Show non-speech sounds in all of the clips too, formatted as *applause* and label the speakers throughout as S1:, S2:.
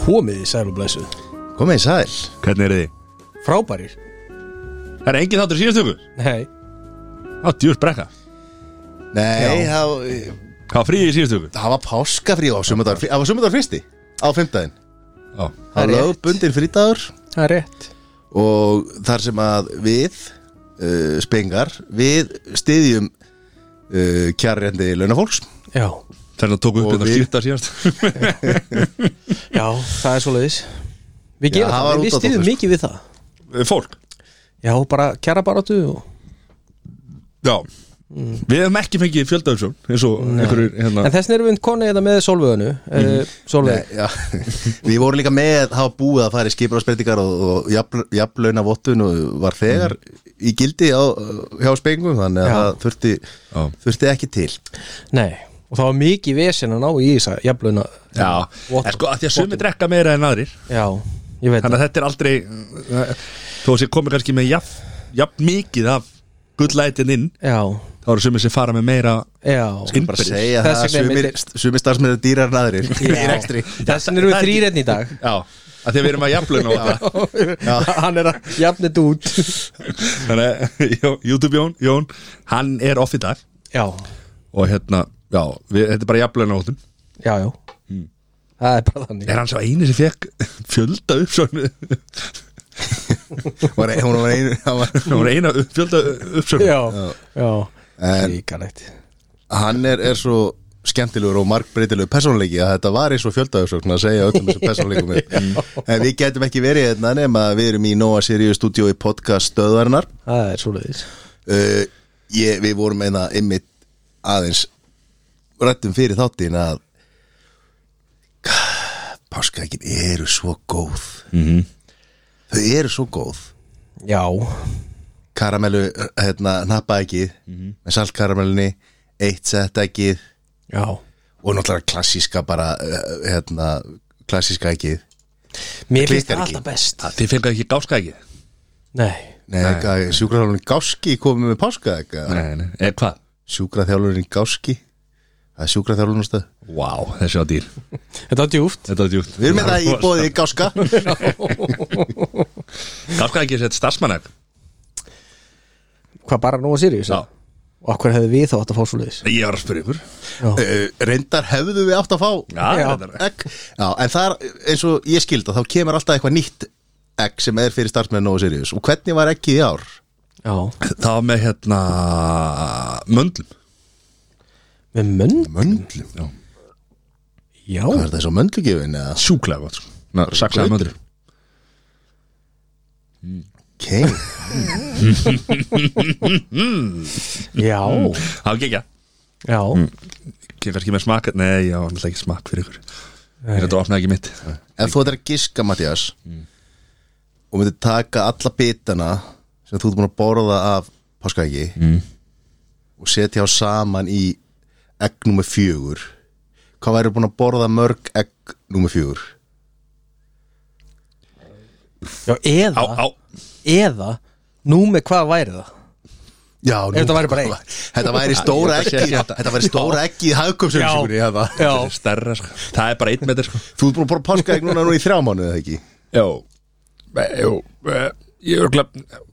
S1: Komið í sæl og blessuð
S2: Komið í sæl
S3: Hvernig er þið?
S1: Frábærir
S3: Það er engin þáttur síðastöku
S1: Nei
S3: Það var djúrt brekka
S2: Nei,
S1: Já.
S2: það,
S3: Það var fríið í síðastöku
S2: það var páskafrí á sömudar Það var sömudar fyrsti á fimmtæðin
S3: Já
S1: Það
S2: Það var
S1: er rétt.
S2: lögbundin frítagur
S1: Það er rétt
S2: Og þar sem að við uh, Spengar Við styðjum uh, Kjarrendi launafólks
S1: Já
S3: Þannig að tóku
S2: Og
S3: upp þetta
S2: við-
S3: skýrta síðast
S1: Já, það er svoleiðis Við
S2: Já,
S1: gerum
S2: það
S1: það,
S2: var
S1: við-
S2: út
S1: við
S2: á það
S1: stýðum
S2: fyrst.
S1: mikið við það
S3: *laughs* Fólk
S1: Já, bara kjara baráttu og...
S3: Já Við hefum ekki fengið fjöldaðursjón eins og einhverjur hérna Mhm.
S1: En þessin erum við konið þetta með Solveiganu mm. uh, Solveig
S2: Eh, Já, *laughs* við vorum líka með það var búið að fara í skipurásbreytingar og, og jafn, jafnlauna vottun og var þegar í gildi á, hjá spengum þannig
S1: Mhm.
S2: að
S1: Já.
S2: það þurfti,
S3: Já.
S2: þurfti ekki til
S1: Nei, og það var mikið vesen að ná í þess að jafnlauna
S3: Já
S1: Vott-
S3: En sko að því að sumi drekka meira en aðrir
S1: Já, ég veit það
S3: Þannig að þetta er aldrei uh, Þó að sér komið kannski með jafn, jafn mikið af gullætin inn
S1: Já,
S3: Þá eru sumi sem fara með meira
S1: já
S3: Skil-
S2: bara
S3: Innbyrðis.
S2: segja
S1: Þess
S2: það að
S1: vegna er
S2: sumir, sumir starfsmenn er dýrar en aðrir í
S1: *laughs* Já.
S2: rekstri
S1: Þessin erum við
S3: Það er ekki-
S1: þrýrætn í dag
S3: Já að Því að við erum að jafnlaun og það
S1: Hann er að jafna þetta út
S3: Þannig að *laughs* Jón- YouTube Jón, Jón Hann er off í dag
S1: Já,
S3: og hérna, já, við, þetta er bara jafnlega nótum
S1: já, já Það er bara þannig
S3: Hmm. er hann svo eini sem fekk fjölda uppsögnu
S2: var, e- hún var einu, *laughs* hann var,
S3: hann var eina upp, fjölda uppsögnu
S1: Já, já
S2: En-
S1: Ríkalegt
S2: hann er, er svo skemmtilegur og markbreytilegur persónleiki að þetta var eins og fjöldaðursögn að segja öllum þessum *laughs* persónleikum við en við getum ekki verið hérna nema að við erum í Nóa Sirius stúdíó í podcast stöðvarinnar
S1: Það er svoleiðis
S2: uh, ég, við vorum eina ymmit aðeins rættum fyrir þáttin að páskaækin eru svo góð mm -hmm. þau eru svo góð
S1: Já,
S2: karamellu, hérna, nappaækið með saltkaramellunni eitt settækið
S1: já
S2: og náttúrulega klassíska bara uh, hérna, klassíska ækið
S1: Mér finnst
S2: Klikkar
S1: það
S2: ekki.
S1: alltaf best
S3: þið fengið ekki gáskæki
S1: Nei,
S2: Nei, sjúkraþjálfurinn Gáski komið með páskaæk
S3: nei, nei, eða hvað?
S2: sjúkraþjálfurinn Gáski það er sjúkraþjálfurinn á stöð
S3: Vá, þessi á dýr
S1: þetta er djúft
S3: Þetta var djúpt
S2: Við erum með það í bóði
S3: *laughs*
S2: Gáska
S3: Gáskæki er sett starfsmannæk
S1: *laughs* Hvað bara nú að Sirius?
S3: Já.
S1: Og hver hefði við þá átt að fá svoleiðis?
S3: Ég var að spyrja ykkur
S2: uh, reyndar hefðu við átt að fá
S3: Já,
S1: Já.
S3: já.
S2: egg Já, en það er eins og ég skilda þá kemur alltaf eitthvað nýtt egg sem er fyrir starfsmenn og Sirius og hvernig var eggið í ár?
S1: Já,
S3: Það var með hérna Möndlum
S1: með mönd
S2: Möndlu
S3: Já.
S1: Já,
S2: Hvað er það svo möndlugjöfin?
S3: Sjúklega gott sko. Ná, Saxaði
S2: blautur.
S3: möndlum
S2: Ok,
S1: já,
S3: Það var gekja
S1: já
S3: Gekja kannski með smak Nei, já, náttúrulega ekki smak fyrir ykkur Þetta opnaði ekki mitt
S2: ef þú ættir að giska Mattias
S1: Mm.
S2: og myndir taka alla bitana sem þú ert búin að borða af páskaeggi
S1: Mm.
S2: og setja á saman í egg nummer fjögur hvað væri búin að borða mörg egg nummer fjögur?
S1: Já,
S3: Á,
S1: eða,
S3: á
S1: eða Nú með hvað væri það?
S2: Já, nú,
S1: Ef þetta væri bara eitt.
S2: Þetta væri stóra
S3: Ég ætla að
S2: ekki
S3: segja þetta.
S2: Þetta væri stóra ekki í hagkjöpsjónsugunni
S1: já,
S3: Þetta er Stærra, sko. það er bara einn metr sko.
S2: Þú ert búin að borða páskaegg núna nú í þrjá mánuði eða ekki
S3: Já, e, jú, e, ég örgla,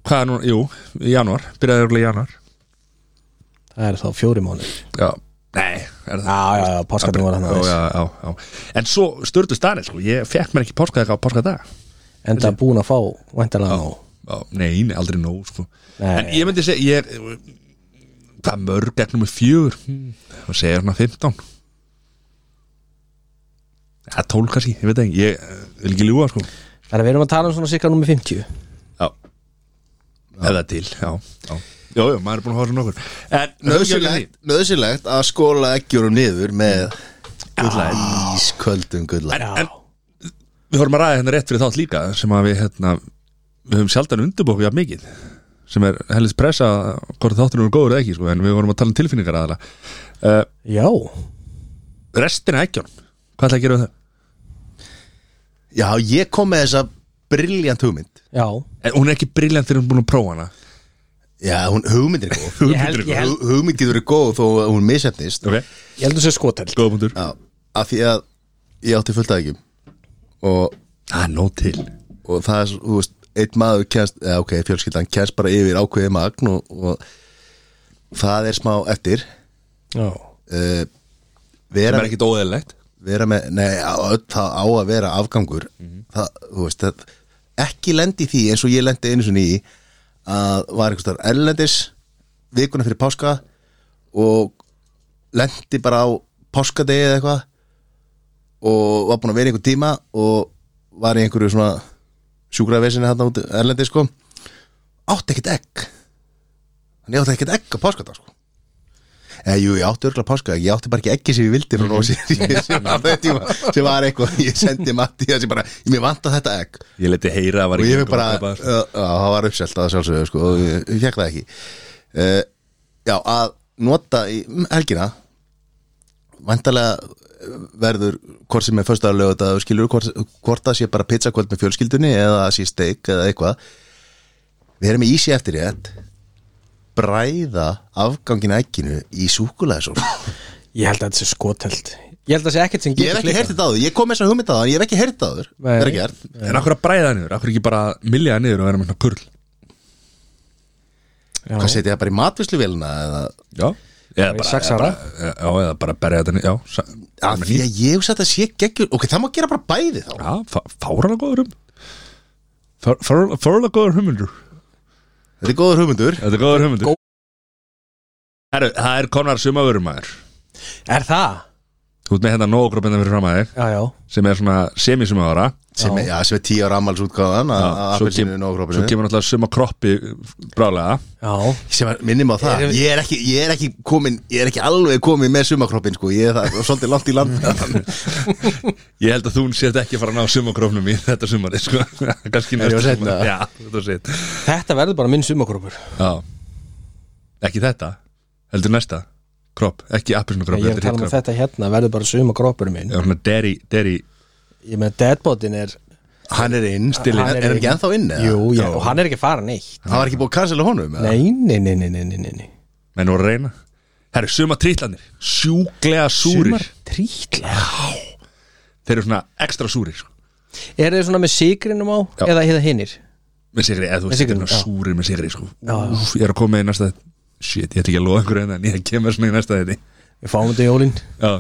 S3: hvað er nú, jú, í janúar, byrjaði örgla í janúar
S1: það er þá fjóri mánu Já,
S3: Já, nei, er það
S1: já, já, páskatinn var hann
S3: Já,
S1: aðeins
S3: já, já, já En svo störtu staðin, sko, ég fekk mér ekki páskaðega á páskadag
S1: Enda búin að fá, væntalega nú
S3: Já, nei, nei, aldrei nóg, sko
S1: Nei.
S3: En ég myndi segja, ég er, hvað mörg gegnum með fjör hmm, Það segja svona 15 Já, 12 kannski, ég veit ekki, ég eh, vil ekki ljúga, sko
S1: Þannig að við erum að tala um svona sikra nummer 50
S3: Já Eða til, já, já. Jó, jó, maður er búin að horfa nokkur En
S2: Nöðsynlegt, nöðsynlegt að skóla eggjur og niður með ísköldum gullæð
S3: En, en við vorum að ræða hérna rétt fyrir þátt líka sem að við hérna við höfum sjaldan undirbúið jafn mikið sem er helst pressa hvort þáttunum er góður eða ekki sko, en við vorum að tala um tilfinningar aðala uh,
S1: Já,
S3: Restina ekkjón Hvað ætla að gera við það?
S2: Já, ég kom með þessa brilljant hugmynd
S1: já,
S3: En hún er ekki briljant þegar hún er búin að prófa hana
S2: Já, hún, hugmyndir er góð
S1: Ég held- ég held-
S2: Hug- Hugmynd getur verið góð þó að hún misefnist
S3: Ok,
S1: Ég heldur sér skoteld
S3: góða punktur
S2: Já, af því að ég átti fullt af ekki og,
S3: Það er nóg til
S2: og það er, svo- þú veist, einn maður kjæst, eða ok, fjölskyldan kjæst bara yfir ákveðið magn og, og það er smá eftir
S1: Já,
S2: uh,
S3: Það
S2: vera,
S3: er ekkit óðeðlegt
S2: vera með, nei, á, öll- það á að vera afgangur það, þú veist, það, ekki lendi því eins og ég lendi einu sinni í að var einhvers þar erlendis vikuna fyrir páska og lendi bara á páskadegi eða eitthvað og var búin að vera í einhver tíma og var í einhverju svona sjúkravesinni hann út erlendi sko átti ekkert egg þannig átti ekkert egg á páskadag sko eða Eh, jú, ég átti örgla páskadag ég átti bara ekki eggi sem ég vildi frá *laughs* Rósi sem var það tíma, sem var eitthvað ég sendi Matti þessi bara, mér vanta þetta egg
S3: Ég leti heyra að var
S2: og ég fekk
S3: ekki
S2: bara, eh,
S3: að kaupa þess.
S2: já, það var uppselt að sjálfsögðu sko, og ég, ég fekk það ekki uh, já, að nota í mm, helgina vantarlega verður hvort sem er föstu að lögða það skilur hvort, hvort það sé bara pizzakvöld með fjölskyldunni eða það sé steik eða eitthvað við erum í ísi eftir rétt bræða afgangin ekkinu í súkulæðisól
S1: ég held að þetta sé skoteld Ég held að það sé ekkert sem
S2: ég hef
S1: getur
S2: ekki
S1: klikkað.
S2: heyrt þetta áður, ég kom með þess að hugmynda það en ég hef ekki heyrt það áður,
S1: Nei.
S2: það er ekki hert
S3: En akkur að bræða það niður, akkur ekki bara milja það niður og vera með svona kurl
S1: Já.
S2: hvað setja það bara í matvisluvélina eða
S3: Já Eða
S1: Í
S3: bara,
S1: saxara?
S3: eða bara, já, eða bara berja þetta niður, já, sa-
S2: að því að ég hugsa að þetta sé geggjur ok, það má gera bara bæði þá
S3: Já, fá- fáránlega góður um Fáránlega góður humundur
S2: þetta er góður hugmyndur
S3: Þetta er góður humundur Herru, það er konar sumavörumæður
S1: Er það?
S3: Þú ert með hérna nógrópinna fyrir fram að þig
S1: Já, já
S3: sem er svona semisumavara
S2: sem, er- já, sem er tíu ára ammals útgáðan að
S3: svo, kem,
S2: appelsinu og
S3: svo
S2: grópinu
S3: kemur náttúrulega suma kroppi brálega
S1: Já,
S2: sem er, minnum á það,
S1: Erum-
S2: ég er ekki ég er ekki komin, ég er ekki alveg komin með sumakroppin sko, ég er það *laughs* svolítið langt í land já,
S3: Ég held að þú sért ekki að fara að ná sumakrófnum í þetta sumari sko. *laughs* Kannski
S2: Er ég
S3: næsta
S2: að segna
S3: sumar.
S2: það?
S3: Já, þetta var sitt
S1: þetta verður bara minn sumakrópur
S3: Já Ekki þetta, heldur næsta Kropp, ekki appisnu kropp
S1: Ég er að tala um að þetta hérna verður bara sumakrópur minn
S3: Já, svona deri, deri
S1: Ég með deadbotin er
S2: hann er inn,
S1: Hann
S2: er, er hann ekki ennþá inn eða?
S1: Jú, já, og hann er ekki að fara neitt
S2: hann var ekki búið að cancela honum eða?
S1: Nei, nei, nei, nei, nei, nei, nei, nei.
S3: menn voru að reyna Herru, suma trítlanir, sjúklega súrir
S1: Sumar trítla
S3: Þeir eru svona ekstra súrir sko.
S1: Er þið svona með sigrinum á
S3: Já.
S1: eða hérna hinnir?
S3: Með sigri, eða þú
S1: Með
S3: veist, þeir
S1: sykri,
S3: eru
S1: já.
S3: svona súrir með sigri sko.
S1: Já, já.
S3: Úf, Ég er að koma með í næsta Shit, ég ætla ekki að lofa einhverju en ég kemur svona í næsta þetta
S1: Við fáum þetta í jólin
S3: Já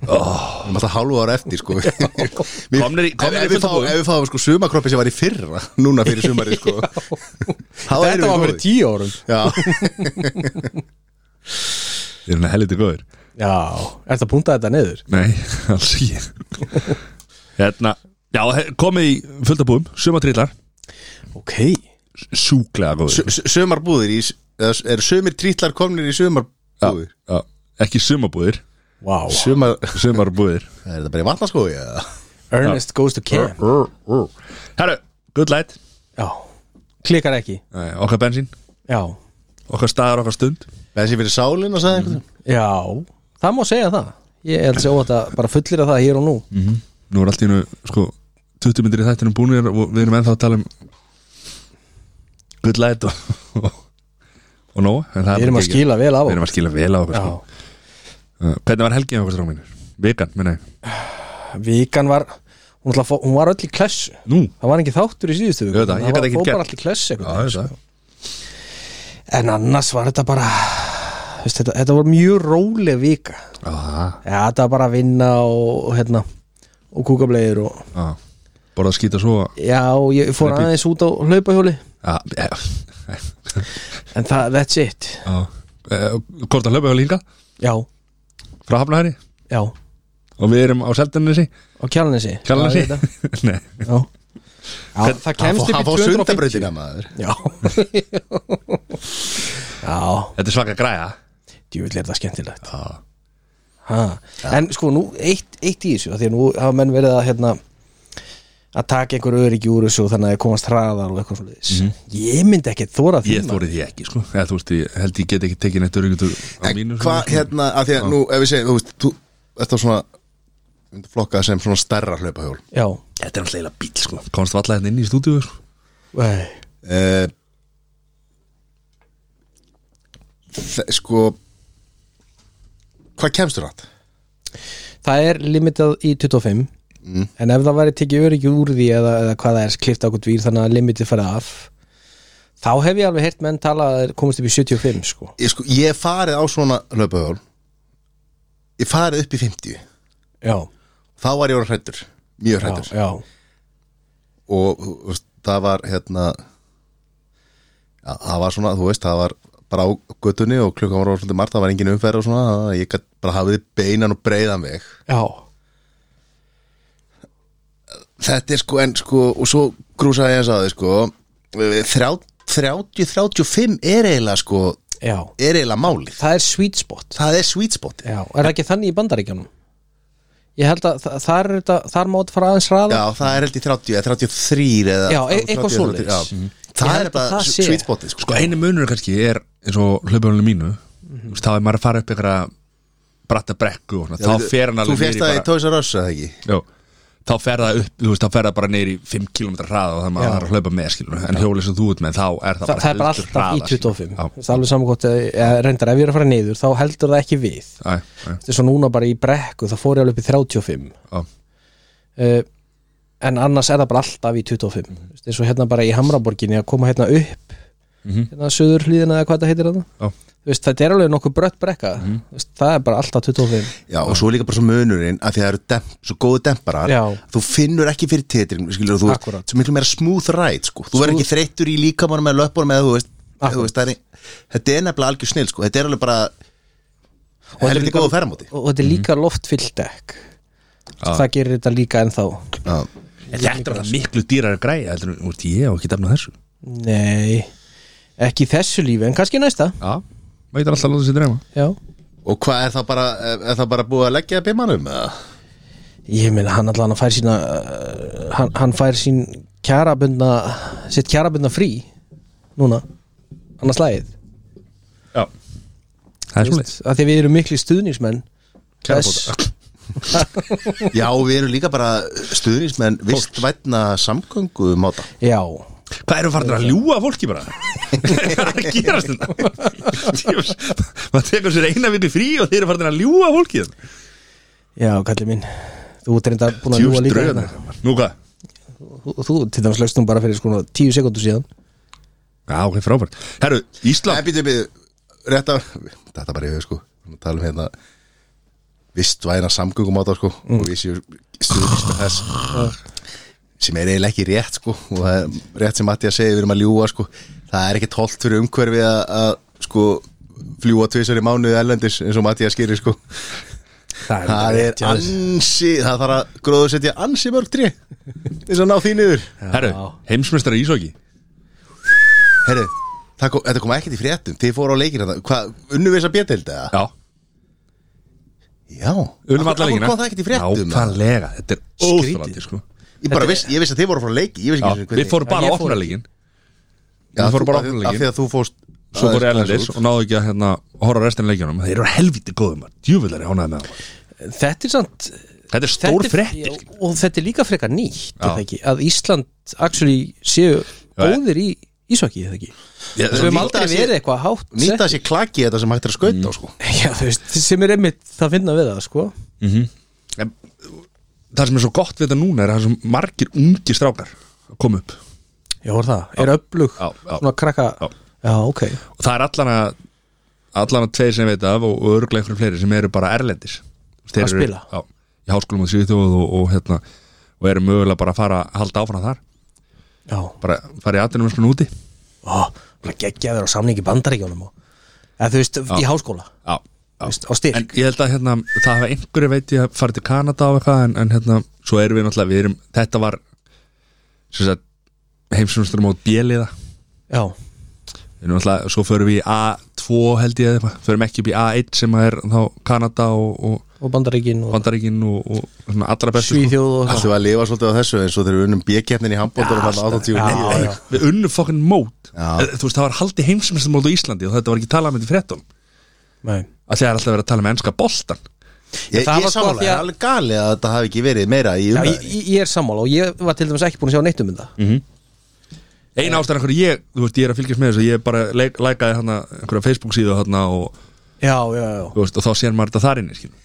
S2: hann var það hálfu ára eftir sko *laughs* Við-
S3: Komnir í-
S2: ef
S3: komnir í
S2: ef við
S3: fullt
S2: fáum-
S3: boði.
S2: ef við fáum sko sumakroppi sem var í fyrra núna fyrir sumari *laughs* sko þá erum
S1: Þetta
S2: við
S1: var
S2: góðir.
S1: fyrir tíu árum
S2: já,
S3: Þeir eru helviti góður
S1: Já, er þetta að punta þetta neður?
S3: Nei, *laughs* alls ekki Hérna, já, he- komið í fulltabúum, suma trítlar
S1: Ok
S3: Sjúklega góður
S2: *laughs* Su- su- sumarbúðir í eða eru sumir trítlar komnir í sumarbúðir
S3: já, Ekki sumabúðir,
S1: Vá
S2: *laughs* sumar,
S3: sumarbúðir
S2: er þetta bara í sko, vatnaskói eða?
S1: Ernest goes to camp
S3: Herru, good light
S1: Já Klikkar ekki
S3: Nei, Okkar bensín,
S1: Já
S3: okkar staðar, okkar stund
S2: Bensin fyrir sálinn og sagði einhvern
S1: Já Það má segja það Ég held sér óvægt að bara fullir að það hér og nú
S3: Mm. Nú er allt í hennu, sko 20 myndir í þættinum búinir og við erum ennþá að tala um Good light og, og, og nóg en það er
S1: Við erum
S3: bara
S1: að
S3: ekki-
S1: skila vel af
S3: Við erum að skila vel á okkur
S1: Já
S3: sko. Uh, Hvernig var helgin á okkur stráminu? Vikan, minna ég
S1: Vikan var Hún, ætla að fá- hún var öll í klessu
S3: Nú,
S1: Það var ekki þáttur í síðustu viku
S3: Ég veit það, ég gat ekkert
S1: fór
S3: gert.
S1: bara allir klessu
S3: já,
S1: einhvern veginn,
S3: þetta
S1: sko. En annars var þetta bara veist, þetta, þetta var mjög róleg vika
S3: Já,
S1: Já, þetta var bara að vinna og hérna Og kúkablegir og
S3: já Borða að skýta svo Ah,
S1: Já, ég fór
S3: Hlaupi.
S1: aðeins út á hlaupahjóli
S3: Já, já
S1: En það, that's it
S3: já. *laughs* Eh, Hvort að hlaupa hjá líka
S1: Já,
S3: Frá Hafnahæri
S1: já,
S3: Og við erum á Seldanesi
S1: á kjálnesi
S3: Kjallanesi
S1: Já,
S3: *laughs* Nei
S1: já. já það kemst upp í
S2: Hann fór
S1: 250
S2: sundabrautina maður
S1: Já *laughs* Já,
S3: Þetta er svaka græja
S1: djúvill er það skemmtilegt
S3: Já
S1: ha. En sko, nú, eitt, eitt í þessu af Því að nú hafa menn verið að hérna að taka einhver öryggi úr þessu og þannig að þeir komast hraðar og eitthvað svoleiðis Mhm. Ég myndi ekki þóra því
S3: Ég
S1: maður.
S3: þórið því ekki, sko Eða þú veist, ég held ég get ekki tekið neitt öryggjötu á
S2: En
S3: mínu
S2: hvað hérna, af því að nú ef við segjum, þú veist, þú Þetta er svona myndi flokka það sem svona stærra hlaupahjól
S1: Já,
S3: Þetta er alltaf eiginlega bíl, sko Komst valla hérna inn í stúdíu, sko
S1: Nei.
S2: uh, Sko Hvað kemstur hann?
S1: Það er limitað í 25 En ef það væri tekið öryggi úr því eða, eða hvað það er klift ákvæmt vír þannig að limitið fara af þá hef ég alveg heyrt menn tala að þeir komast upp í 75 sko
S2: Ég, sko, ég hef farið á svona löpahjól Ég farið upp í 50
S1: Já,
S2: Þá var ég orðinn hræddur, mjög
S1: já,
S2: hræddur
S1: já,
S2: og þú veist, það var hérna ja, það var svona, þú veist, það var bara á göttunni og klukkan var orðin svolítið margt það var engin umferð og svona, þannig að ég gætt bara hafið beinan og breiðan mig
S1: já
S2: þetta er sko, en sko, og svo grúsaði ég eins að þið sko eh, þrjá- 30-35 er eiginlega sko,
S1: Já,
S2: er eiginlega málið
S1: það er sweet spot
S2: það er sweet spot
S1: Já, er það ekki þannig í bandaríkjanum? Ég held að þa- þar, er þetta- þar má þetta fara aðeins hraða
S2: já, það er held í 30 eða 33 eða
S1: Já, e- eitthvað
S2: 30,
S1: svoleiðis.
S2: já.
S1: Mhm. Ég
S2: það
S1: held
S2: er
S1: að
S2: bara
S1: það sé.
S2: sweet spotið sko.
S3: Sko einu munur kannski er eins og hlaupahjólinu mínu mm -hmm. þá er maður að fara upp einhverja bratta brekku og svona, þá fer hann alveg
S2: þú férst
S3: niður
S2: það
S3: í
S2: í Tóisa Röss, eða ekki?
S3: Já, þá fer það upp, þú veist, þá fer það bara neyri 5 km hraða og það maður þarf að hlaupa með skilur en hjólið sem þú ert með, þá er það
S1: Þa, Það er bara
S3: heldur
S1: alltaf í
S3: hraða,
S1: 25
S3: skilur.
S1: Það er alveg samkvæmt að eða reyndar ef ég er að fara niður þá heldur það ekki við
S3: Já, æ, æ,
S1: Þetta er svo núna bara í brekku það fór ég alveg upp í 35
S3: á.
S1: uh, en annars er það bara alltaf í 25 mm -hmm. eins og hérna bara í Hamraborginni að koma hérna upp hérna söður hlýðina eða hvað þetta heitir þarna
S3: Já.
S1: Þú veist, þetta er alveg nokkuð brött brekka mm veist, það er bara alltaf 25
S2: Já, og svo er líka bara svo munurinn að því að það eru demp, svo góðu demparar
S1: Já.
S2: þú finnur ekki fyrir titring skilur, þú veist,
S1: Akkúrat.
S2: svo miklu meira smooth ride sko. þú verður ekki þreyttur í líkamannum eða löpunum eða þú veist, eða, þú veist það er, þetta er nefnilega algjör snill sko. þetta er alveg bara
S1: þetta er
S2: helviti
S1: líka-
S2: góðu ferramóti
S1: og þetta er líka loftfyllt dekk það gerir þetta líka ennþá
S2: Já.
S3: En Þetta er alltaf miklu dýrar að græja heldur, en, þú veist, ég á ekki dæfna þessu
S1: nei, ekki í þessu lífi en kannski í næsta
S3: Já, maður getur alltaf að láta sér dreyma
S1: já.
S2: og hvað er það bara er, er það bara búið að leggja bimmanum eða?
S1: ég meina hann allan að fær sína uh, hann, hann fær sín kjarabundna sitt kjarabundna frí núna, annars lagið
S3: Já, það
S1: Þú
S3: er svona
S1: veist, af því að við erum miklu stuðningsmenn
S3: Kjarabóta.
S1: þess-
S2: já, við erum líka bara stuðnismenn vistvætna samgöngu máta
S1: já,
S3: Hvað eru farin að ljúga að fólki bara? *laughs* Hvað er að gerast þetta? Djöfus, Maður tekur sér eina viku frí og þeir eru farin að ljúga að fólki
S1: já, kallið minn þú ert reynda búin að ljúa
S3: Djúst
S1: líka
S3: dröðan
S1: hérna.
S3: Nú hvað?
S1: þú, þú til dæmis lögstum bara fyrir sko tíu sekundu síðan
S3: Já, ok, frábært Herru,
S2: en
S3: Ísland
S2: býtum við, rétt að þetta bara yfir sko, við talum hérna vistvæna samgöngum á það sko og við séum stuðnist með þess sem er eiginlega ekki rétt sko og það er rétt sem Matti að segja við erum að ljúga sko, það er ekki tólt fyrir umhverfi að, að sko fljúa tvisar í mánuði ellendis eins og Matti að skýri sko það er ansi, það þarf að gróðu setja ansi mörg trí eins og ná því niður
S3: Herru, heimsmeistar í Ísóki
S2: Herru, það kom, þetta kom ekkert í fréttum þið fóru á leikina, hvað, unnu við þess að bjöndildi eða?
S3: Já,
S2: Já,
S3: unum
S2: Af hverju-
S3: alla
S2: af hverju
S3: leikina
S2: kom það ekkert í fréttum
S3: Nákvæmlega, þetta er
S2: Skrítið.
S3: óþálandi sko
S2: Ég bara viss, ég vissi að þið voru frá leiki Ég vissi
S3: Já,
S2: ekki einu sinni
S3: Við fórum
S1: Já,
S3: bara
S1: ég
S3: að
S1: fór
S3: opna
S1: ekki.
S3: leikin
S2: Já,
S3: við fórum
S2: þú-
S3: bara á
S2: af því-
S3: leikinn.
S2: Af því að þú fórst
S3: Svo fóru
S2: aðeins-
S3: erlendis
S2: aðeins út.
S3: og náðu ekki að hérna horfa á restin leikjunum Þeir eru helvítið góðum að djúvillari hánaði með það
S1: þetta er samt
S3: Þetta er
S1: þetta
S3: stór
S1: er-
S3: fréttir
S1: já, og þetta er líka frekar nýtt er
S3: Já.
S1: það ekki, að Ísland actually séu góðir í Ísvaki eða ekki
S3: Já,
S1: við höfum
S2: nýta
S1: aldrei
S2: sér-
S1: verið eitthvað hátt
S2: Nýta
S1: sett.
S2: sér klaki þetta sem hægt er að skauta á, sko.
S1: já, þú veist, sem er einmitt það finna við það sko
S3: en, það sem er svo gott við þetta núna er að það sem margir ungi strákar að koma upp og
S1: já, er það, er öflug
S3: Já, já.
S1: svona krakka,
S3: Já.
S1: já, ok
S3: það er allan að allan að tveir sem ég veit af og, og örglega einhverjum fleiri sem eru bara erlendis Þeir
S1: Að
S3: eru-
S1: spila?
S3: Já, í háskólum á Svíþjóð og, og hérna og eru mögulega bara að fara að halda áfram þar
S1: já,
S3: bara fara í aðdunum einhvern úti
S1: Ó, bara geggjaður á samningi bandaríkjónum og, eða þú veist, í háskóla
S3: já, já.
S1: Þú veist, á styrk
S3: en ég held að hérna, það hafa einhverju veit ég að fara til Kanada og eitthvað en, en hérna, svo erum við náttúrulega, við erum þetta var heimsumsturum á bjeliða
S1: já,
S3: Við erum alltaf, svo förum við í A2 held ég eða eitthvað, förum ekki upp í A1 sem að er þá Kanada og,
S1: og bandaríkin
S3: og
S1: og
S3: Bandaríkin og, og svona allra bestu sko.
S1: Svíþjóð og
S2: Ætlum við að lifa svolítið á þessu eins og þegar við unnum B-keppnin í handbóltunum hann
S1: Já,
S2: 89
S1: já.
S3: Við unnum fokkin mót
S2: Já.
S3: Eh, Þú veist, það var haldið heimsumestum mót á Íslandi og þetta var ekki talað með þetta fréttum
S1: Nei.
S3: að því það er alltaf verið að tala um með ennska boltan
S2: Ég,
S1: Það var
S2: ég
S1: sko
S2: samanlega,
S1: því að-
S2: það er alveg gali að þetta hafi ekki verið meira í
S1: Já,
S2: umræði
S1: ég, ég er sammála og ég var til dæmis ekki búin að sjá neitt um það
S3: mm -hmm. eina ástæðan hverju ég, þú veist, ég er að fylgjast með þess að ég bara leik, lækaði hann einhverja Facebook síðu hann og,
S1: já, já, já
S3: þú veist, og þá sér maður þetta þar inni skilur.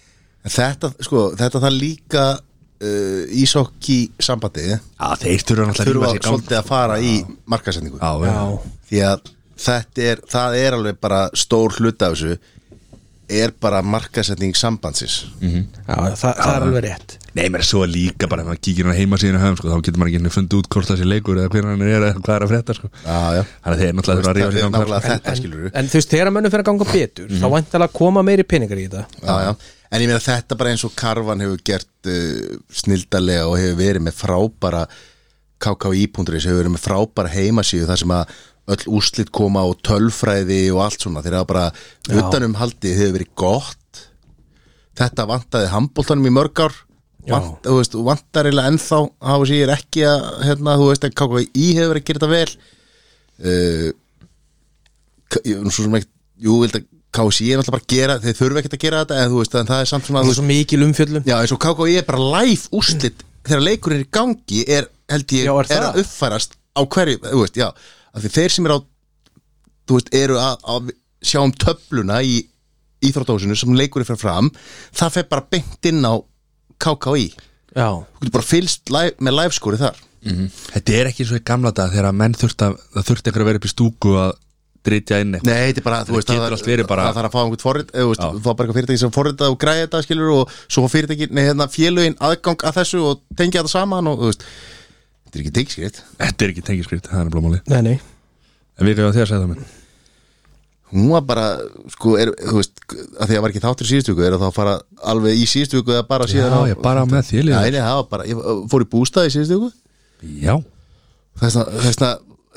S2: En Þetta, sko, þetta það líka uh, ísokki sambandi
S3: Já, þeir þurfa
S2: þurfa
S3: náttúrulega rífa sig í gang.
S2: svolítið að fara í markasetningu
S3: Já, já.
S1: Já.
S2: því að þetta er, það er alveg bara stór hlut af þessu er bara markasetning sambandsins
S1: Já, það, það er alveg rétt
S3: Nei, mér er svo líka bara ef maður kíkir hann heima síðan höfum, sko, þá getur maður ekki henni fundið út hvort það sé leikur eða hvernig hann er eða hvað er að frétta sko.
S2: Já, já.
S3: Þannig að þeir náttúrulega þurfa að
S2: Það
S3: rífa sig
S2: er
S3: í gang
S2: náttúrulega
S3: þar.
S2: þetta skilur
S1: En þú veist, þegar mönnum fyrir að ganga betur þá væntalega koma meiri peningar í þetta
S2: já, já. En ég meina þetta bara eins og Karvan hefur gert uh, snildarlega og hefur verið með frábæra KKI.is hefur verið með frábæra heimasíðu þar sem að öll úrslit koma og tölfræði og allt svona þegar bara utanum haldið hefur verið gott þetta vantaði handbóltanum í mörg ár Vant, þú veist, vantar eiginlega ennþá hafa sér ekki að hérna, þú veist að KKI hefur verið að gera þetta vel uh, K- ég er nú svo sem ekki jú, vildi að KSI er alltaf bara að gera þeir þurfa ekkert að gera þetta en þú veist en það er samt svona
S1: Það
S2: þú
S1: er
S2: veist,
S1: svo mikil umfjöllum
S2: já, eins og KKI er bara live úrslit þegar leikurinn er í gangi er held ég
S1: Já, er
S2: er,
S1: það?
S2: að uppfærast á hverju þú veist, já af því þeir sem er á þú veist eru að, að sjá um töfluna í íþróttósinu sem leikurinn fer fram það fer bara beint inn á KKI þú
S1: Já,
S2: getur bara fylst live, með live skori þar
S3: Þetta er ekki eins og í gamla dag þegar að menn þurft að það þurfti einhver að vera upp í stúku að dritja inn eitthvað.
S2: Nei, þetta er bara, þú
S3: Þetta
S2: veist,
S3: getur allt verið bara-
S2: það þarf að fá einhvern forrit, eða, þú veist,
S3: Já.
S2: þú fá bara eitthvað fyrirtæki sem forrita og græja þetta, skilur, og svo fá fyrirtæki, nei, hérna, félögin aðgang að þessu og tengja þetta saman og, þú veist, þetta er ekki teikskriðt.
S3: Þetta er ekki tengiskript, það er blómáli
S1: nei, nei
S3: En við erum að því að segja það minn
S2: Hún var bara, sko, er, þú veist, að því að var ekki þáttur í síðustu viku, er það að fara alveg í síðustu viku eða bara síðan á...
S3: Já, ég bara með því
S2: Já,
S3: liður
S2: nei, það var bara, ég uh, fór í bústað í síðustu viku,
S3: Já,
S2: þessna, þessna,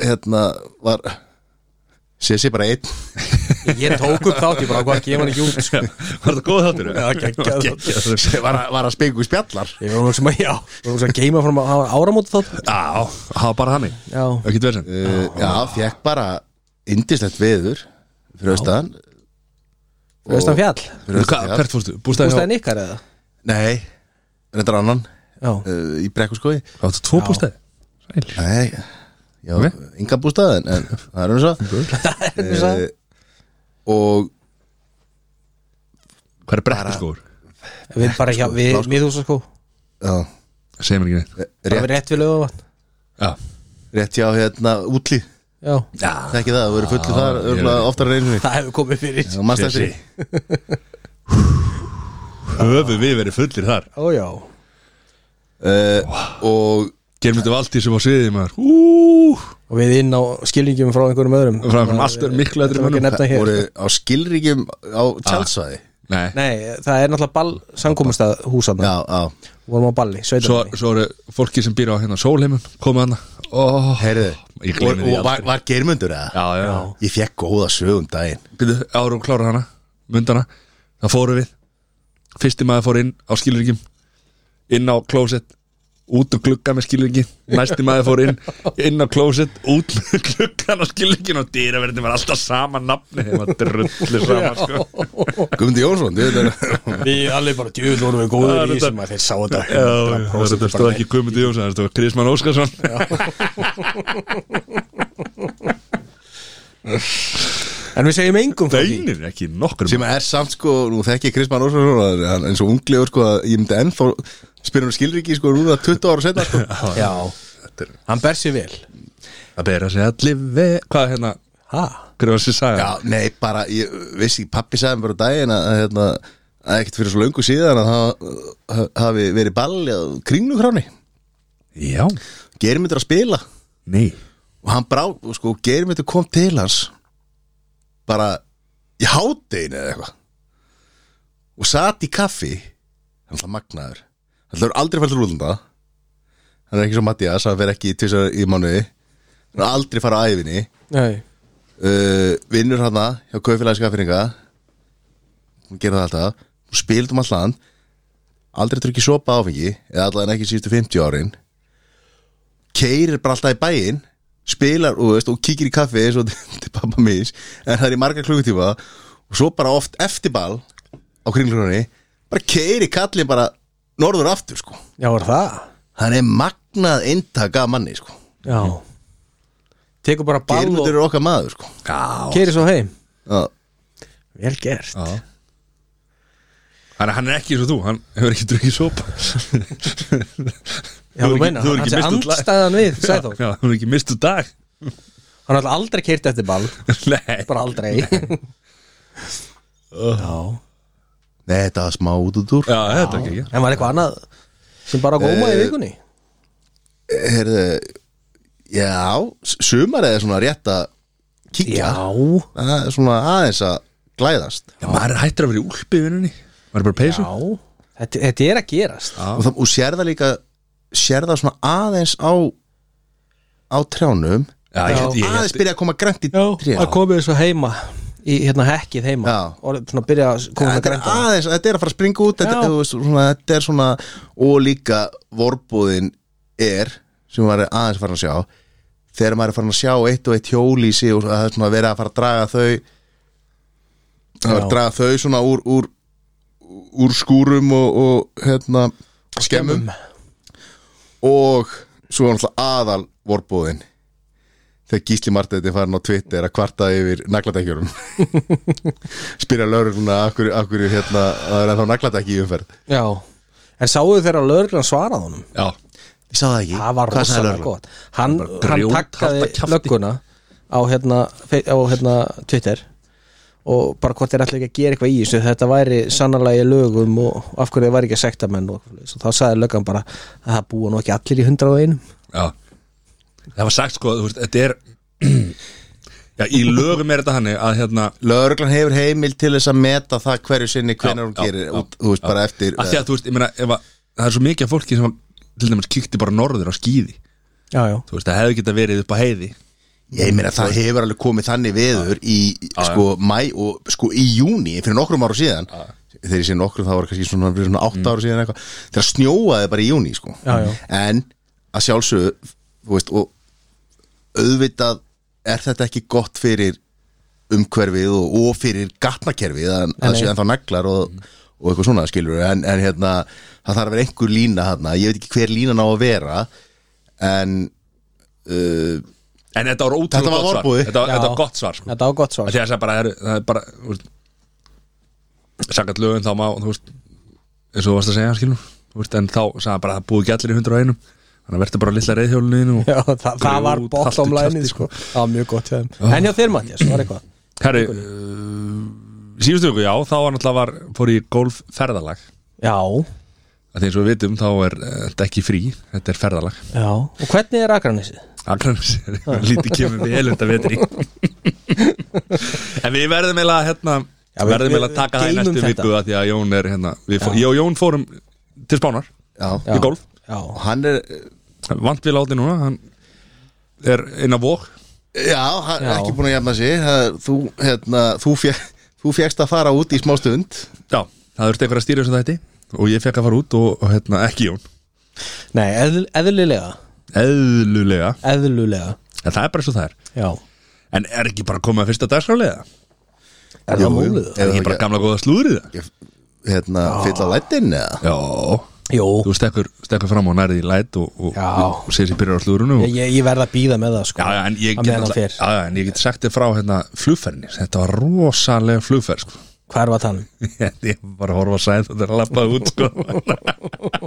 S2: hérna, var, sé sé bara einn,
S1: Ég tók upp þátt, ég bara hvað ekki, ég var ekki út sko.
S3: var þetta góð þáttur?
S1: Já, geggjað þáttur.
S3: þáttur
S2: var, að- var að spengu spjallar.
S1: Ég var nú sem að, já, var nú sem að geima frá maður, það var áramóta þátt
S3: Já, það var bara hannig
S1: Já,
S3: Ekki verðsinn
S2: uh, Já, fekk bara indislegt veður fyrir austan
S1: veist hann fjall
S2: fyrir austan, já.
S3: Hvert fórstu? Bústæði
S1: Bústæðin ykkar eða?
S2: Nei, reyndar annan
S1: Já,
S2: uh, í brekkuskoði
S3: Áttu tvo
S1: Já.
S3: bústæði? Sæl
S2: Nei, já,
S3: Ok.
S2: okay. enga bústaðin *laughs* en það er hún svo
S1: Hvernig sagði?
S2: og
S3: Hvað er brekkur skór?
S1: Við bara hjá, við
S2: blá, sko.
S1: miðhúsaskó
S2: já,
S3: Segir mér ekki neitt
S1: Bara
S2: rétt,
S1: við rétt við lögavatn
S3: Já,
S2: rétt hjá hérna útlí
S1: Já,
S2: Það er ekki það, það verður fullu þar
S3: ég
S2: örgulega
S3: veit.
S2: oftar reynir
S1: það hefur komið fyrir
S2: Já, mannst eftir því.
S3: höfum við verið fullir þar
S1: Ó já,
S2: uh, Og
S3: Gerum þetta allt í sem á sviði maður Úúú
S1: og við inn á skilningjum frá einhverjum öðrum
S3: Frá einhverjum allt öðrum, miklu öðrum
S1: Þetta er ekki
S3: mönnum.
S1: nefnt að hér
S2: voru á skilríkjum á tjaldsvæði
S3: Nei
S1: Nei, það er náttúrulega ball, samkomustað húsana
S2: Já, já,
S1: Vorum á balli,
S3: Svo,
S1: sveitarballi
S3: svo eru fólki sem býr á hérna sólheimum Komið hana oh,
S2: heyrðu Og,
S3: Ég gleymi því
S2: og var, var geirmundur eða?
S3: Já, já, já.
S2: Ég fekk góða sögum daginn
S3: Býtu, árum klára hana, myndana Það fórum við Fyrsti maður fór inn á skilurikjum Inn á klósett Út um glugga með skiluriki Næsti maður fór inn Inn á klósett Út með gluggan á skilurikin Og dýraverðin var alltaf sama nafni Það var drullu sama sko.
S2: Guðmundur Jónsson þú veit
S1: *laughs*
S2: það.
S1: Við allir bara djöðl vorum við
S3: Já,
S1: góður í
S3: þetta-
S1: þessum að þeir sá þetta
S3: Já, já, Þetta stóð ekki Guðmundur Jónsson Þetta stóð Krisman Óskarsson
S1: En við segjum engum frá því
S3: Deinir ekki nokkur
S2: sem er samt sko, nú þekki ég Kristmann Ósvarsson að hann er eins og ungliður sko að ég myndi ennþá spyrir um skilriki sko núna 20 ára setna sko
S1: Já,
S3: er-
S1: hann ber sér vel
S3: Það ber að segja allir ve Hvað er hérna
S1: Ha?
S3: Hver var þessi saga
S2: Já, nei, bara, ég vissi, pappi sagði mér bara á daginn að, hérna, að ekkert fyrir svo löngu síðan að það hafi verið balli á kringlukráni
S3: Já.
S2: Geirmyndur að spila
S3: Nei
S2: og hann brá, og sko, Geirmyndur kom til hans bara í hátdeinu eða eitthvað og sat í kaffi hann ætla magnaður hann ætla aldrei fælt rúlunda hann er ekki svo Mattias, hann fer ekki tvisar í mánuði hann er aldrei fara á æfinni
S1: Nei
S2: uh, vinnur hann hjá kaufélagi skaffinninga hún gerir það alltaf hún spilir um allan aldrei drukkið sopa áfengi eða allan ekki síðustu 50 árin keirir bara alltaf í bæinn spilar og, veist, og kíkir í kaffi eins og *laughs* til pappa mis en það er í marga klukkutíma og svo bara oft eftir ball á kringlunni bara keiri kallin bara norður aftur sko
S1: Já, var það?
S2: hann er magnað intak af manni sko
S1: Já tekur bara ball
S2: Geirmundur
S1: og
S2: er okkar maður sko
S3: Já
S1: keiri svo heim
S2: Já,
S1: vel gert
S3: Þannig að hann er ekki eins og þú, hann hefur ekki drukkið sopa
S1: Já, þú
S3: hefur
S1: meina,
S3: þú hefur
S1: hans er
S3: misst úr dag.
S1: andstæðan
S3: *laughs*
S1: við Sæþór.
S3: Já, já, þú hefur ekki mistu dag *laughs*
S1: hann er alltaf aldrei keirt eftir ball
S3: Nei,
S1: bara aldrei já
S2: nei, þetta var smá út út úr
S3: já, þetta er ekki ekki
S1: en var eitthvað annað sem bara gómaði
S3: Eh,
S1: í vikunni
S2: Herðu, já, s- sumarið er svona rétt að kíkja Það er Svona aðeins að glæðast
S3: Já, maður er hættur að vera í úlpi í vinnunni Maður er bara að peysa
S1: já þetta, þetta er að gerast
S2: og, það, og sér það líka sér það svona aðeins á á trjánum
S3: Já, ég, ég, ég,
S2: aðeins byrja að koma grænt í trjá
S1: að komið svo heima í hérna hekkið heima
S2: Já.
S1: og svona byrja að koma
S2: þetta
S1: með
S2: er
S1: grænta
S2: aðeins, þetta er að fara að springa út þetta,
S1: Já.
S2: þú veist, svona, þetta er svona og líka vorbúðin er sem maður er aðeins farin að sjá þegar maður er farin að sjá eitt og eitt hjól í sig og það er svona verið að fara að draga þau það er að
S1: Já.
S2: draga þau svona úr, úr, úr skúrum og, og hérna skemmum og svo er náttúrulega aðal vorbúðin þegar Gísli Marteinn er farin á Twitter að kvarta yfir nagladekjunum spyrja lögregluna af hverju, af hverju hérna, að það er þá nagladekki í umferð
S1: já en sáu þeirra lögreglan svarað honum
S3: já,
S2: ég sá það ekki,
S1: það var rosalega gott hann, hann
S3: grjót- harta
S1: takkaði
S3: kjafti.
S1: lögguna á hérna, fe- á hérna Twitter og bara hvort þeir ætla ekki að gera eitthvað í þessu þetta væri sannarlega í lögum og af hverju þeir væri ekki að sekta menn og, og þá sagði löggan bara að það búa nú ekki allir í hundra og einum
S3: já Það var sagt sko, þú veist, þetta er *clears throat* Já, í lögum er þetta hannig að hérna
S2: lögreglan hefur heimil til þess að meta það hverju sinni hvenær hún
S3: já,
S2: gerir
S3: já,
S2: út, þú veist, bara eftir eh,
S3: að því að þú veist, ég meina, ef að það er svo mikið af fólki sem að, til dæmis kíkti bara norður á skýði
S1: já, já.
S3: þú veist, það hefði geta verið upp á heiði
S2: ég meina það hefur alveg komið þannig veður í sko mæ og sko í júni fyrir nokkrum ára síðan þegar ég sé nokkrum það var kannski svona, fyrir svona 8 ára síðan eitthvað þegar snjóaði bara í júni sko
S1: Mm. Já, já.
S2: en að sjálfsögðu þú veist og auðvitað er þetta ekki gott fyrir umhverfið og, og fyrir gatnakerfið að það
S1: nei. Mm.
S2: séu ennþá neglar og, og eitthvað svona skilur en, en hérna það þarf að vera einhver lína hérna ég veit ekki hver línan á að vera en uh,
S3: En þetta var
S2: Þetta
S3: ótrúlega
S2: var
S3: gott svar
S2: vorboði.
S3: þetta, var-
S1: Já.
S3: þetta var gott svar sko.
S1: þetta var gott
S3: Af
S1: svar
S3: Því að það er bara, er, það er bara þú veist, Sangat lögum þá má Þú veist eins og þú varst að segja skilum Þú veist en þá sagði bara að búið ekki allir í hundra og einum Þannig að verður bara litla reyðhjólinu
S1: já, það, það var
S3: Grjót,
S1: bottom
S3: haltu
S1: line
S3: kjafti,
S1: sko. það var mjög gott hjá þeim en hjá þeir Mattias, var eitthvað
S3: Herri uh, Síðustu ykkur já Þá var náttúrulega var, fór í golf ferðalag
S1: já,
S3: Því eins og við vitum þá er eh, þetta ekki frí Þetta er ferðalag
S1: já, og hvernig er Akranessið?
S3: Akranis Lítið kemur við elunda vetri En við verðum eiginlega hérna,
S1: Já, við-
S3: verðum eiginlega að
S1: við-
S3: taka það í
S1: geymum
S3: næstu
S1: þetta.
S3: viku að Því að Jón er hérna við fó, Ég og Jón fórum til Spánar
S2: já,
S1: Já.
S3: Í golf.
S1: já,
S2: og hann er
S3: Vant við láti núna Hann er inn á vók
S2: já, hann er
S1: Já.
S2: ekki búin að jafna sig Það- þú, hérna, þú, fjek, þú fjekst að fara út í smá stund
S3: Já, það þurfti einhver að stýra þessu þætti Og ég fekk að fara út og, og hérna ekki Jón
S1: nei, eðl, eðlilega
S3: Eðlulega
S1: eðlulega,
S3: En það er bara svo það er
S1: já
S3: En er ekki bara komið að fyrsta dagskrálega?
S1: er
S2: Jú,
S1: það
S2: jú.
S1: múlið?
S2: Ef
S3: Er ekki
S2: það
S3: bara
S2: ekki-
S3: gamla góða slúðrið?
S2: hérna, fylla lætin eða
S3: Já
S1: Jú,
S3: þú stekkur, stekkur fram og nærði í læt og, og,
S1: Já.
S3: og sér sér byrjar á slúrunu og,
S1: ég, ég verð að býða með það sko
S3: já, já, en ég
S1: Að meðan
S3: get
S1: hann
S3: náttúrulega-
S1: fer.
S3: já, já, en ég get sagt þér frá hérna, flugferðinni, þetta var rosalega flugferð sko. *laughs*
S1: Hvað er var þann?
S3: ég var að horfa að sæða þetta er að lappa út
S1: *laughs*
S3: sko.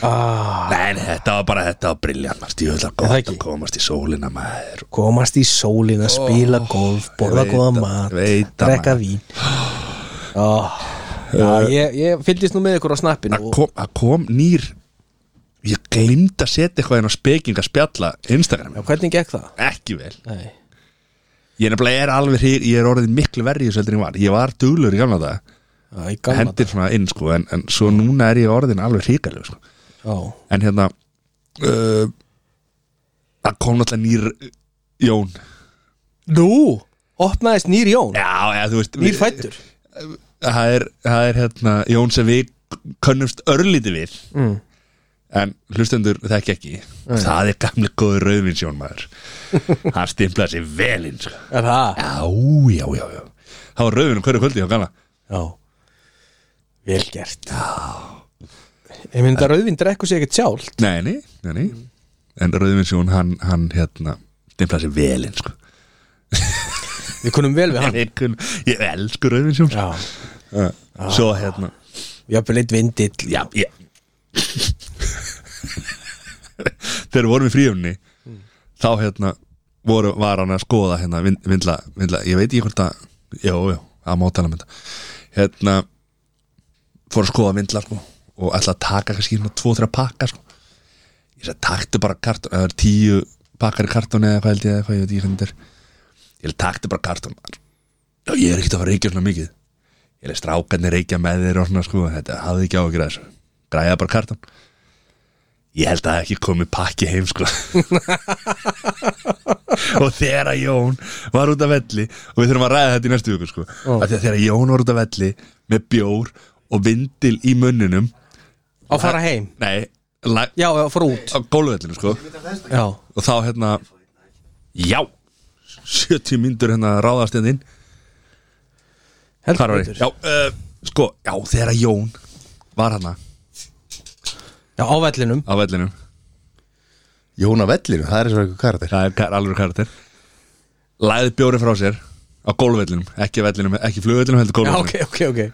S1: Ah,
S3: nei, nei, þetta var bara þetta var brilljant, ég vil að
S1: það
S3: gott
S1: ekki?
S3: að komast í sólina maður
S1: komast í sólina, spila golf borða
S3: veit
S1: góða
S3: það,
S1: mat,
S3: veit það,
S1: drekka
S3: maður. *gasps*
S1: vín oh, já, ég, ég fylgist nú með ykkur á snappinu
S3: að
S1: og,
S3: kom, að kom nýr ég glimta að setja eitthvað en á speking að spjalla Instagram,
S1: já, hvernig gekk það?
S3: ekki vel
S1: Nei.
S3: ég er nefnilega er alveg, hri- ég er orðið miklu verri í þessu heldur en ég var, ég var duglur í gamla dag
S1: Já, ég gamla
S3: hendir svona inn sko en, en svo núna er ég orðin alveg hrikalegu sko.
S1: já,
S3: en hérna uh, það kom náttúrulega nýr uh, Jón
S1: Nú, opnaðist nýr Jón
S3: já, eða, þú veist
S1: nýr fættur
S3: það er, það er hérna Jón sem við könnumst örlíti við mm. en hlustendur þekki ekki það er gamli góður rauðvins Jón *laughs* maður hann stimplaði sér vel inn sko.
S1: er það?
S3: já, já, já, já það var rauðvinum hverju kvöldi hjá gamla
S1: Já, vel gert já. Ég myndi að rauðvinn drekku sig ekkert sjálf
S3: Mm. Nei, nei, nei, nei. En Rauðvinsjón, hann, hann hérna stimpla sér velin sko.
S1: Við kunum vel við hann
S3: ég, kun, ég elsku rauðvinsjón
S1: Já,
S3: Svo hérna
S1: jafnvel eitt vindill
S3: Já, já Þegar við vorum í fríumni Þá hérna voru, var hann að skoða hérna vin- vindla, vindla Ég veit ekki hvort að Jó, jó, að mátala með þetta Hérna Fór að skoða vindla sko Og ætla að taka kannski hérna tvo, þrjá pakka sko Ég sagði, taktu bara kartón Það er tíu pakkar í kartónu eða hvað held ég eða hvað ég veit ekki hvernig þetta er Ég held, taktu bara kartón Já, ég er ekkert að fara að reykja svona mikið ég leið strákarnir reykja með þeir og svona sko, þetta hafði ekki á að gera þessu græða bara kartan ég held að það ekki komið pakki heim sko *laughs* og þegar að Jón var út af velli og við þurfum að ræða þetta í næstu viku sko oh. að þegar Jón var út af velli með bjór og vindil í munninum
S1: Á fara heim
S3: nei, lag,
S1: Já, já, fór út
S3: á góluvellinu sko
S1: Já,
S3: og þá hérna já, 70 myndur hérna ráðast hérna inn Hvar var ég?
S1: betur.
S3: Já, uh, sko, já, þegar að Jón var hérna, hana
S1: já á vellinum
S3: á vellinum
S2: Jóna Vellinu, það er svo eitthvað karakter
S3: Það er kar, alveg karakter Læði bjóri frá sér á gólvellinum Ekki vellinum, ekki flugvellinum, heldur
S1: Já,
S3: gólvellinum
S1: ok, ok,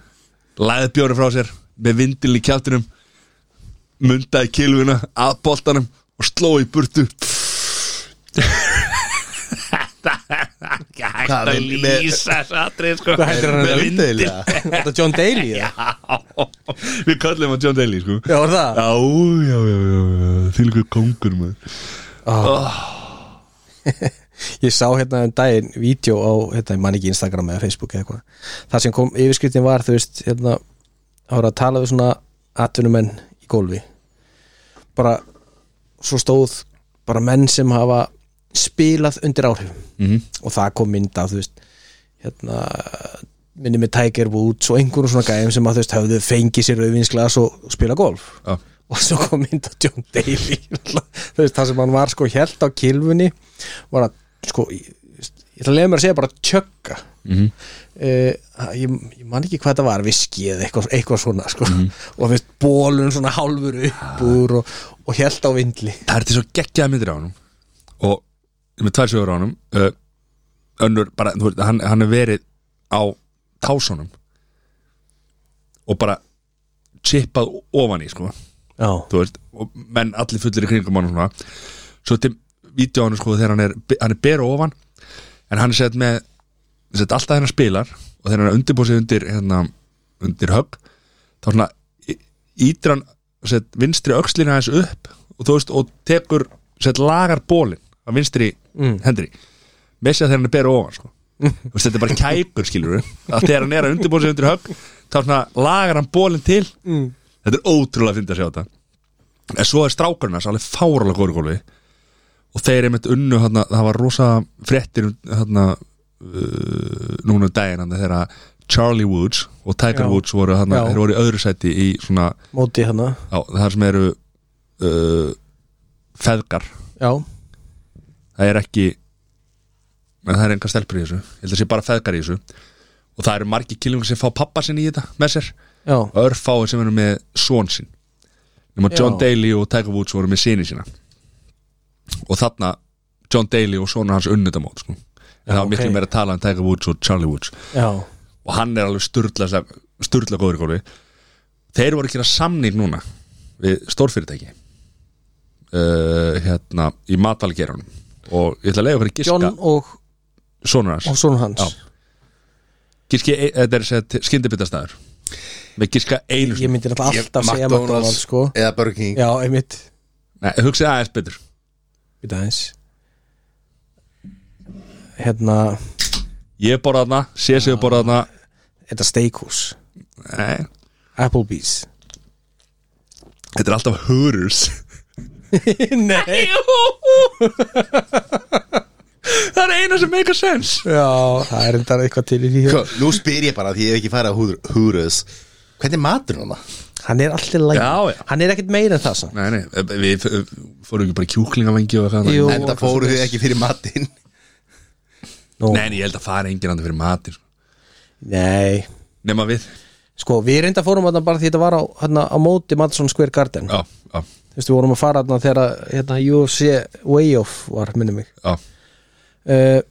S1: ok
S3: Læði bjóri frá sér með vindil í kjáttinum Mundaði kilvuna að boltanum og sló í burtu Þetta er
S2: Hvað,
S3: hægt að
S2: með- með-
S3: lýsa satri, sko,
S1: Hvað heitir hann?
S3: með vindil
S2: eða?
S1: Þetta er John Daly eða?
S3: Já, við kallum hann John Daly, sko
S1: Já, var það?
S3: Já, já, já, já, já Til ykkur kongur maður
S1: Ah. *laughs* Ég sá hérna um daginn vídeo á, hérna, ég man ekki Instagram eða Facebook eða eitthvað Það sem kom yfirskriftin var, þú veist, hérna Það voru að tala við svona atvinnumenn í gólfi Bara, svo stóð bara menn sem hafa spilað undir áhrifum
S3: Mhm.
S1: -hmm. og það kom mynd af, þú veist hérna minni með Tiger Woods og einhverjum svona gæðum sem að þú veist höfðu fengið sér auðvinsglas og spila golf
S3: Já.
S1: og svo kom mynd af John Daly *laughs* þú veist, það sem hann var sko held á kilfunni var að sko, ég, ég ætla að leiða mér að segja bara tjögga mm -hmm. ég, ég man ekki hvað þetta var viski eða eitthvað, eitthvað svona sko. og þú veist, bólun svona hálfur upp úr og, og held á vindli
S3: Það er til svo geggjaða myndir á honum Og ég er með tvær sögur á honum uh, Önnur, bara, þú veist, hann, hann er verið á tásunum Og bara chippað ofan í, sko
S1: já,
S3: Þú veist, og menn allir fullir í kringum hann og svona Svo til vídeo á honum, sko, þegar hann er, hann er bera ofan En hann er sett með sett alltaf hennar spilar Og þegar hann er undirbúsið undir, hérna, undir högg Þá svona ítir hann sett, vinstri öxlina hans upp og, þú veist, og tekur sett, lagar bólin á vinstri mm. hendri með sér þegar hann er bera ofan sko. Þú veist, þetta er bara kækur skilur við að þegar hann er að undirbúið sig undir högg þá svona, lagar hann bólin til mm. þetta er ótrúlega fyndið að sjá þetta en svo er strákurinn hans alveg fáralega góri gólfi og þeir einmitt unnu þarna, það var rosa fréttir um, þarna, uh, núna um daginn þarna, þegar Charlie Woods og Tiger
S1: Já.
S3: Woods voru, þarna,
S1: Já.
S3: þeir voru í öðru sæti í svona
S1: móti hana
S3: Já, það sem eru uh, feðgar
S1: já,
S3: það er ekki en það er enga stelpur í þessu ég held að sé bara feðgar í þessu og það eru margi killingur sem fá pappa sinn í þetta með sér
S1: já,
S3: og örfáin sem eru með svon sinn nema
S1: Já.
S3: John Daly og Tiger Woods voru með sinni sína og þarna John Daly og svona hans unnutamót sko. en það var miklu
S1: ok.
S3: meira að tala um Tiger Woods og Charlie Woods
S1: já
S3: og hann er alveg sturla sturla góður í góli þeir voru að gera samning núna við stórfyrirtæki uh, hérna í matvalgeranum og ég ætla að leiða okkur að giska
S1: John og,
S3: sonur hans
S1: og sonur hans
S3: Já. giski, e- þetta er skyndibitastæður með giska einu
S1: ég
S3: sinni.
S1: myndi náttúrulega
S2: Ég-
S1: alltaf segja
S2: McDonald's
S1: McDonalds sko.
S2: Eða Burger King
S1: já, einmitt
S3: Nei, hugsið aðeins betur
S1: Bíddu aðeins. hérna,
S3: ég borða þarna, CSU borða þarna
S1: þetta steakhouse
S3: Nei,
S1: Applebee's
S3: *laughs* þetta er alltaf hörurs
S1: Nei
S3: *laughs* það er eina sem make a sense
S1: Já, það er enda eitthvað til í því
S2: Sko, Nú spyr ég bara því ég hef ekki farið á húruðs Hvernig er matur núna?
S1: Hann er allir læg
S3: Já, já.
S1: Hann er ekkert meira en það samt
S3: Nei, nei, við við fórum ekki bara í kjúklingavengi og eitthvað
S1: Jú.
S2: En það fóruð þið ekki fyrir matinn
S1: Nú,
S3: Nei, en ég held að fara enginn andur fyrir matir
S1: Nei.
S3: Nefna við
S1: Sko, við reynda fórum þarna bara því þetta var á, hérna, á móti Madison Square Garden
S3: Já, já,
S1: Þú veist, við vorum að fara þarna þegar að, hérna, UFC Way Off var, minni mig
S3: já
S1: uh,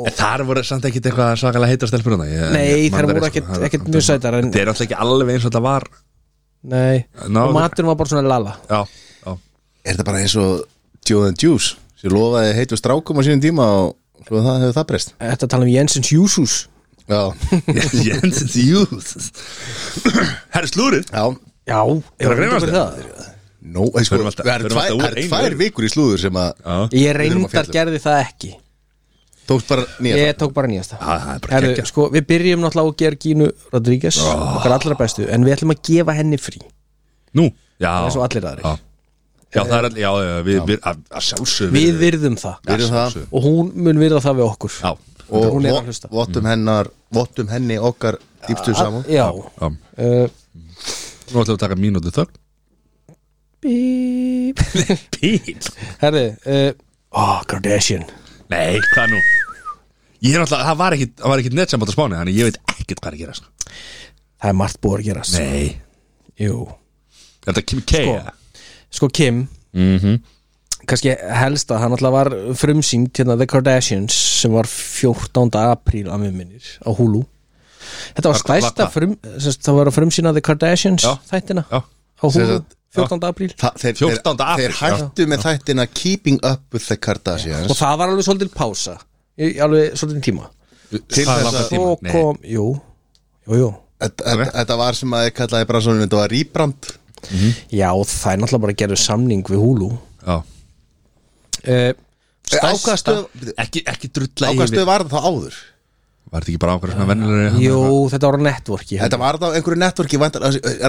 S3: En þar voru samt ekkit eitthvað svakalega heita stelpur hana ég,
S1: Nei,
S3: ég man
S1: þær
S3: það
S1: voru
S3: ekki,
S1: ekkit,
S3: sko. Það-
S1: ekkit mjög sætar en,
S3: Þetta er alltaf ekki alveg eins og þetta var
S1: Nei,
S3: Ná,
S1: og maturinn var bara svona lala
S3: Já, já *laughs*
S2: Er þetta bara eins og Joe and Juice sem lofaði heitu strákum á sínum tíma og svo það hefur það breyst
S1: Þetta tala um Jensens Júsús
S2: *laughs* Já,
S3: Jensens Youth Herri slúrið
S2: já
S1: Já,
S3: að
S1: reyndi
S3: grínast
S1: okkur
S3: þér?
S1: það.
S2: No, eh, sko,
S3: Förum alltaf-
S2: það eru
S3: förum
S2: tvær,
S3: alltaf úr
S2: það eru
S3: einu.
S2: tvær vikur í slúður sem að
S3: Já,
S1: Ég
S2: erum að
S1: reyndar
S2: fjalla.
S1: gerði það ekki
S2: tókst bara nýja
S1: Ég tók bara nýjasta
S3: Já, það er bara
S1: Herðu,
S3: geggjað.
S1: sko, Við byrjum náttúrulega á Georgínu Rodríguez okkar allra bestu, en við ætlum að gefa henni frí
S3: nú Já
S1: eins og allir aðrir.
S3: Já, já það er allir, já, já, við, við að, að sjálfsögum
S1: Við virðum það
S2: Við erum það
S3: sjálfsögðu.
S1: og hún mun virða það við okkur
S3: Já,
S2: og
S1: Hún er að
S2: vot-
S1: hlusta. Mm.
S2: vottum hennar vottum henni okkar dýptu saman
S1: Já
S3: já
S1: uh,
S3: Nú ætlum við að taka mínútu þögn
S1: Bíp
S3: Píl
S1: Herði uh, oh, Kardashian
S3: Nei, hvað nú? Ég er alltaf, það var ekkit, það var ekkit netsamband á spáni Þannig ég veit ekkit hvað er að gera sko.
S1: Það er margt búið að gerast
S3: Nei
S1: Jú
S3: Þetta kemur keia
S1: Sko. Mhm. Sko Kim kannski helst að hann alltaf var frumsýnd hérna The Kardashians sem var 14. apríl að mér minnir á Hulu Þetta var
S3: Var- var
S1: stærsta
S3: hvað?
S1: frum, sest, það var að frumsýna The Kardashians
S3: Já.
S1: þættina
S3: Já,
S1: á
S2: Sem
S1: Hulu
S2: sagt-
S1: 14. apríl
S2: Þa, þeir,
S3: 14. apríl,
S2: þeir hættu með þættina Keeping Up with the Kardashians
S1: og það var alveg svolítið pása í alveg svolítið tíma
S2: til
S3: Það er
S2: þess
S3: langt
S2: að
S3: Tíma,
S1: og
S3: nei.
S1: kom, jú, jú, jú
S2: þetta- þetta þetta var sem að ég kallaði bara svona þetta var rýbrand
S1: Já, það er náttúrulega bara að gera samning við Hulu
S3: já
S1: uh,
S2: ákvaðstöð
S3: Ekki, ekki drulla
S2: ákvaðstöð var það þá áður
S3: Var þetta ekki bara ákvæmst svona vennilegri
S1: Jú, þetta var á networki
S2: þetta var það á einhverju netvorki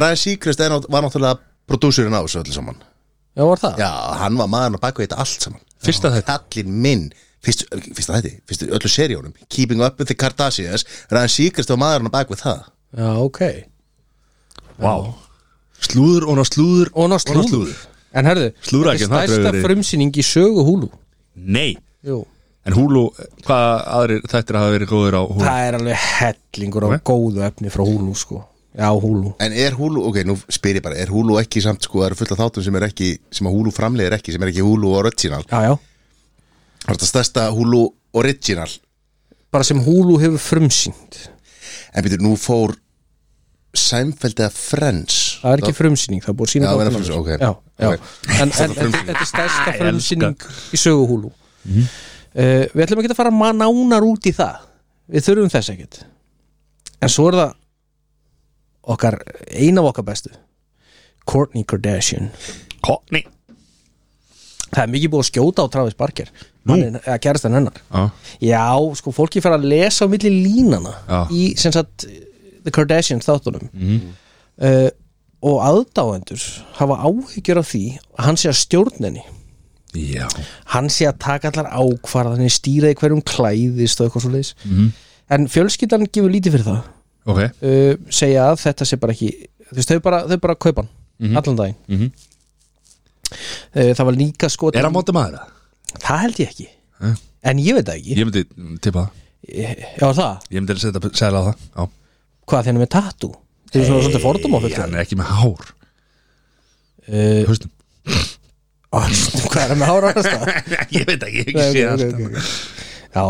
S2: Ryan Seacrest er ná- var náttúrulega prodúsurinn á þessu öllu saman
S1: Já, var það?
S2: já, hann var maðurinn á bakvið þetta allt saman
S3: Fyrsta þetta
S2: kallinn minn fyrst, fyrst að þetta, fyrst öllu seríónum Keeping Up with the Kardashians Ryan Seacrest var maðurinn á bakvið það
S1: Já, ok
S3: hérna? Vá Slúður og ná slúður
S1: Og ná slúður, En herðu,
S3: Slúðra ekki,
S1: þetta
S3: það
S1: er
S3: draugur
S1: stærsta
S3: í-
S1: frumsýning í sögu Hulu
S3: Nei
S1: Jú
S3: En húlu, hvað aðrir þættir hafa verið góður á húlu?
S1: Það er alveg hellingur á
S3: Ok.
S1: góðu efni frá Hulu sko Já, Hulu
S2: En er Hulu, ok, nú spyr ég bara, er Hulu ekki samt sko, það eru fullt af þáttum sem er ekki, sem að Hulu framlegir ekki, sem er ekki Hulu original.
S1: Já, já
S2: Það er þetta stærsta Hulu original.
S1: Bara sem Hulu hefur frumsýnd
S2: En býtur, nú fór Seinfeld eða Friends.
S1: Það er ekki frumsýning, það er búið að sína
S2: Já, það er
S1: þáttina.
S2: frumsýning, ok.
S1: Já, já
S2: Ok.
S1: En, en þetta þetta er stærsta
S3: Ég
S1: frumsýning í sögu Hulu uh, Við ætlum ekki að fara ma- nánar út í það Við þurfum þess ekkert En svo er það okkar, ein af okkar bestu Kourtney Kardashian
S3: Konni
S1: Það er mikið búið að skjóta á Travis Barker Mannin, eða kærastan hennar
S3: Já,
S1: Já, sko, fólki fer að lesa á milli línana
S3: Já. Mhm.
S1: í, sem sagt, The Kardashians þáttunum mm. og aðdáendur hafa áhyggjur af því að hann sé að stjórninni
S3: já
S1: hann sé að taka allar ákvarðanir stýra í hverjum klæðist og eitthvað svo leis mm.
S3: Mhm.
S1: en fjölskyldan gefur lítið fyrir það
S3: Ok,
S1: uh, segja að þetta sé bara ekki þú veist, þau bara, þau bara kaupa hann
S3: Mhm.
S1: allan daginn mm -hmm. það var líka sko
S3: er hann móti maður það?
S1: það held ég ekki
S3: Eh?
S1: en ég veit það ekki
S3: Ég myndi tippa það
S1: já það,
S3: Ég myndi að setja segla á það Já
S1: hvað þeirnum er tattoo þau eru svona svolítið fordum á fullt
S3: Hann er ekki með hár
S1: uh,
S3: Haustum
S1: hvað er það með hára hans *laughs* það
S3: *laughs* Ég veit ekki, ég hef
S1: Nei,
S3: ekki sé
S1: ok,
S3: það
S1: ok, ok. hérna. já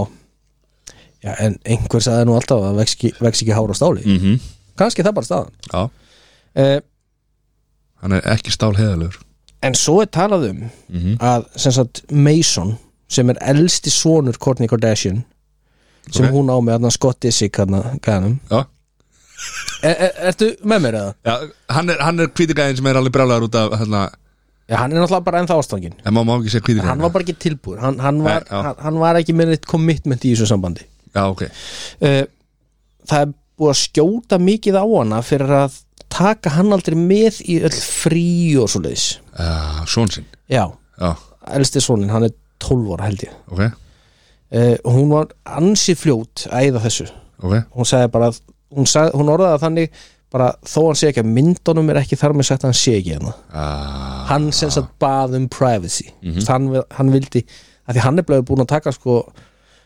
S1: já en einhver sagði nú alltaf að vex ekki, vex ekki hára á stáli mm.
S3: Mhm.
S1: kannski það bara staðan
S3: Já,
S1: uh,
S3: hann er ekki stál heðalur
S1: en svo er talað um að sem sagt Mason sem er elsti sonur Kourtney Kardashian sem
S3: Ok.
S1: hún á með hann Scott Disick hann gæðanum
S3: Já
S1: er, er, E, ertu með mér eða?
S3: Já, hann er, hann er kvítigæðin sem er alveg brálaður út af hérna,
S1: Já, hann er náttúrulega bara ennþá ástangin
S3: en maður má ekki segja kvítigæðin
S1: hann var bara ekki tilbúr hann, hann, var,
S3: Nei, já.
S1: hann, hann var ekki með neitt commitment í þessu sambandi
S3: Já, ok
S1: Eh, það er búið að skjóta mikið á hana fyrir að taka hann aldrei með í öll frí og svo leiðis
S3: uh, Són sinn
S1: já,
S3: Já,
S1: elsti sonin, hann er 12 ára held ég
S3: ok,
S1: uh, hún var ansi fljót að eða þessu
S3: ok
S1: hún sagði bara, hún, sagði, hún orðaði það þannig bara þó hann sé ekki að myndunum er ekki þar með sagt að hann sé ekki hérna
S3: uh,
S1: hann sem sagt bað um privacy mm -hmm. hann, vil- hann vildi, að því hann er blöðu búin að taka sko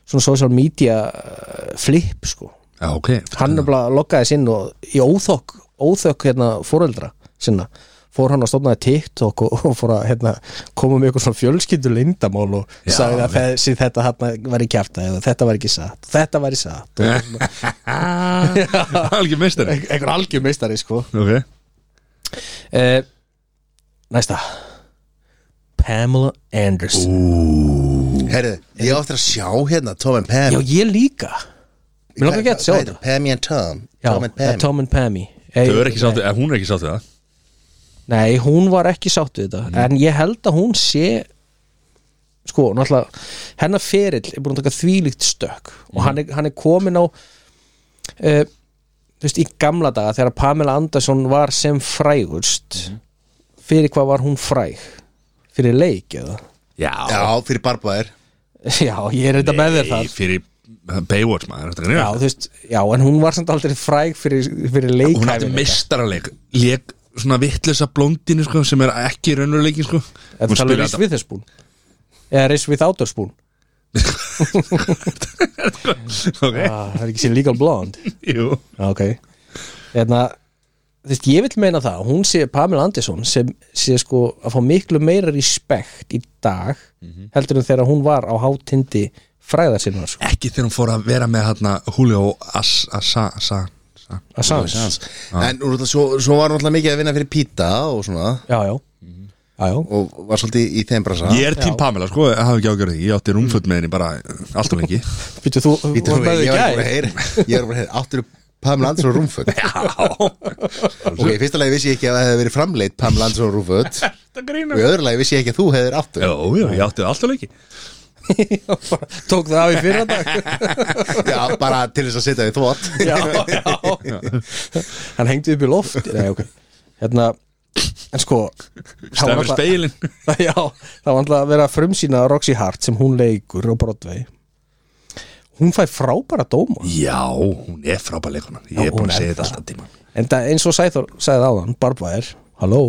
S1: svona social media uh, flip sko
S3: Já, ok *laughs*
S1: hann er bara að lokkaði sinn og í óþokk óþokk hérna fóreldra sinna fór hann að stofnaði TikTok og, og fór að hérna, koma með eitthvað svona fjölskyldu lindamál og
S3: Já,
S1: sagði að þessi þetta hann var í kjæfta eða þetta var ekki satt, þetta var í satt og
S3: Algjör meistari
S1: ein- einhver algjör meistari sko
S3: Ok
S1: eh, Næsta Pamela Anderson
S2: Herru, ég áttir að sjá hérna Tom and Pam
S1: Já, ég líka Mér langar ekki að sjá
S2: Hvað heitir
S1: þetta
S2: Pammy and Tom
S1: Já,
S2: Tom and Pam
S1: Tom and Pammy Ei,
S3: Þau eru ekki sáttu, eða hún er ekki sáttu það
S1: Nei, hún var ekki sátt við þetta En ég held að hún sé Sko, náttúrulega Hennar ferill er búin að taka þvílíkt stökk Og hann er, hann er komin á uh, Þú veist, í gamla daga Þegar Pamela Anderson var sem frægust Fyrir hvað var hún fræg? Fyrir leik eða?
S3: Já, eh,
S2: Já, fyrir barbaðir
S1: *laughs* Já, ég er þetta með þér þar
S3: Fyrir eh, Baywatch maður ertu að
S1: Já,
S3: grínast?
S1: þú veist, já, en hún var samt aldrei fræg fyrir, fyrir leikhæfileika
S3: Hún átti mistaraleg Leg svona vittlösa blondinu sko, sem er ekki raunveruleikin sko.
S1: Þetta
S3: Hún
S1: er talað
S3: spilaði
S1: um Reese Witherspoon Eða Reese Without Her Spoon
S3: þetta Ok,
S1: ah, Það er ekki sér legal blonde
S3: jú
S1: ah, Ok Eðna, þvist, Ég vil meina það Hún sé Pamela Anderson sem sé sko að fá miklu meira respekt í dag heldur en þegar hún var á hátindi fræðar sinna sko.
S3: Ekki þegar hún fór að vera með hérna Julio As- Asa Asa- Asa-
S1: Assange
S2: En úr þetta, svo, svo var hann alltaf mikið að vinna fyrir Pita og svona
S1: Já, já, já, já.
S2: Og var svolítið í þeim brasa
S3: Ég er tím
S1: Já.
S3: Pamela sko, ég hafi ekki ágjörði Ég átti rúmföld með henni bara uh, allt og lengi
S1: Býtu, þú,
S2: Bíddu
S1: þú
S2: nú við,
S1: varst með þau í
S2: Ég var ekki bara að
S1: gær. *laughs*
S2: heyra Ég var bara að heyra Áttir Pamela Anderson og *laughs* Rúmföt Ok, í fyrsta lagi vissi ég ekki að það hefði verið framleitt Pamela Anderson og Rúmföt
S3: Þetta grínar
S2: Og í öðru lagi vissi ég ekki að þú hefðir áttur
S3: Jó, jú, ég átti það allt og lengi
S1: Já, bara Tók það af í fyrra dag
S2: *laughs* Já, bara til þess að setja því þvott
S1: *laughs* já, já. hann hengdi upp í loft Nei, ok hérna, en sko það var
S3: Stæður
S1: alltaf-
S3: speilin
S1: *laughs* já, það var alltaf að vera frumsýna Roxy Hart sem hún leikur á Broadway hún fæ frábæra dóma
S3: Já, hún er frábæð leikona Ég
S1: Já,
S3: er búin
S1: hún
S3: að
S1: er
S3: segja þetta
S1: það.
S3: alltaf tíma
S1: en það, eins og Sæþór sagði áðan, Barbær halló,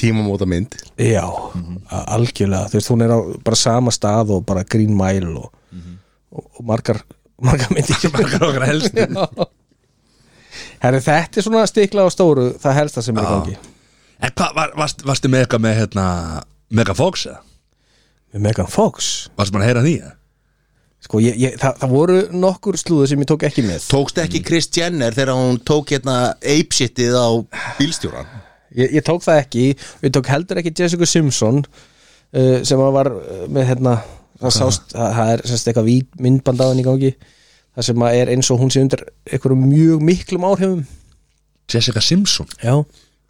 S2: Tímamóta mynd
S1: já, a- algjörlega þú veist, hún er á bara sama stað og bara Green Mile og, og, og margar, Mhm. *laughs* margar myndir
S3: Margar okkar helst
S1: Herri, þetta er svona stikla á stóru það helsta sem er í gangi
S3: En hvað, var, varst, varstu með eitthvað með hérna Mega Fox eða?
S1: með Megan Fox
S3: Varstu maður að heyra því eða?
S1: Sko, ég, ég, það, það voru nokkur slúður sem ég tók ekki með
S2: Tókst ekki Chris Jenner þegar hún tók hérna apeshitið á bílstjóran
S1: ég, ég tók það ekki, ég tók heldur ekki Jessica Simpson uh, sem að var uh, með hérna það, sást, það, það er semst eitthvað vít- myndband á henni í gangi það sem að er eins og hún sé undir einhverjum mjög miklum áhrifum
S3: Jessica Simpson
S1: Já,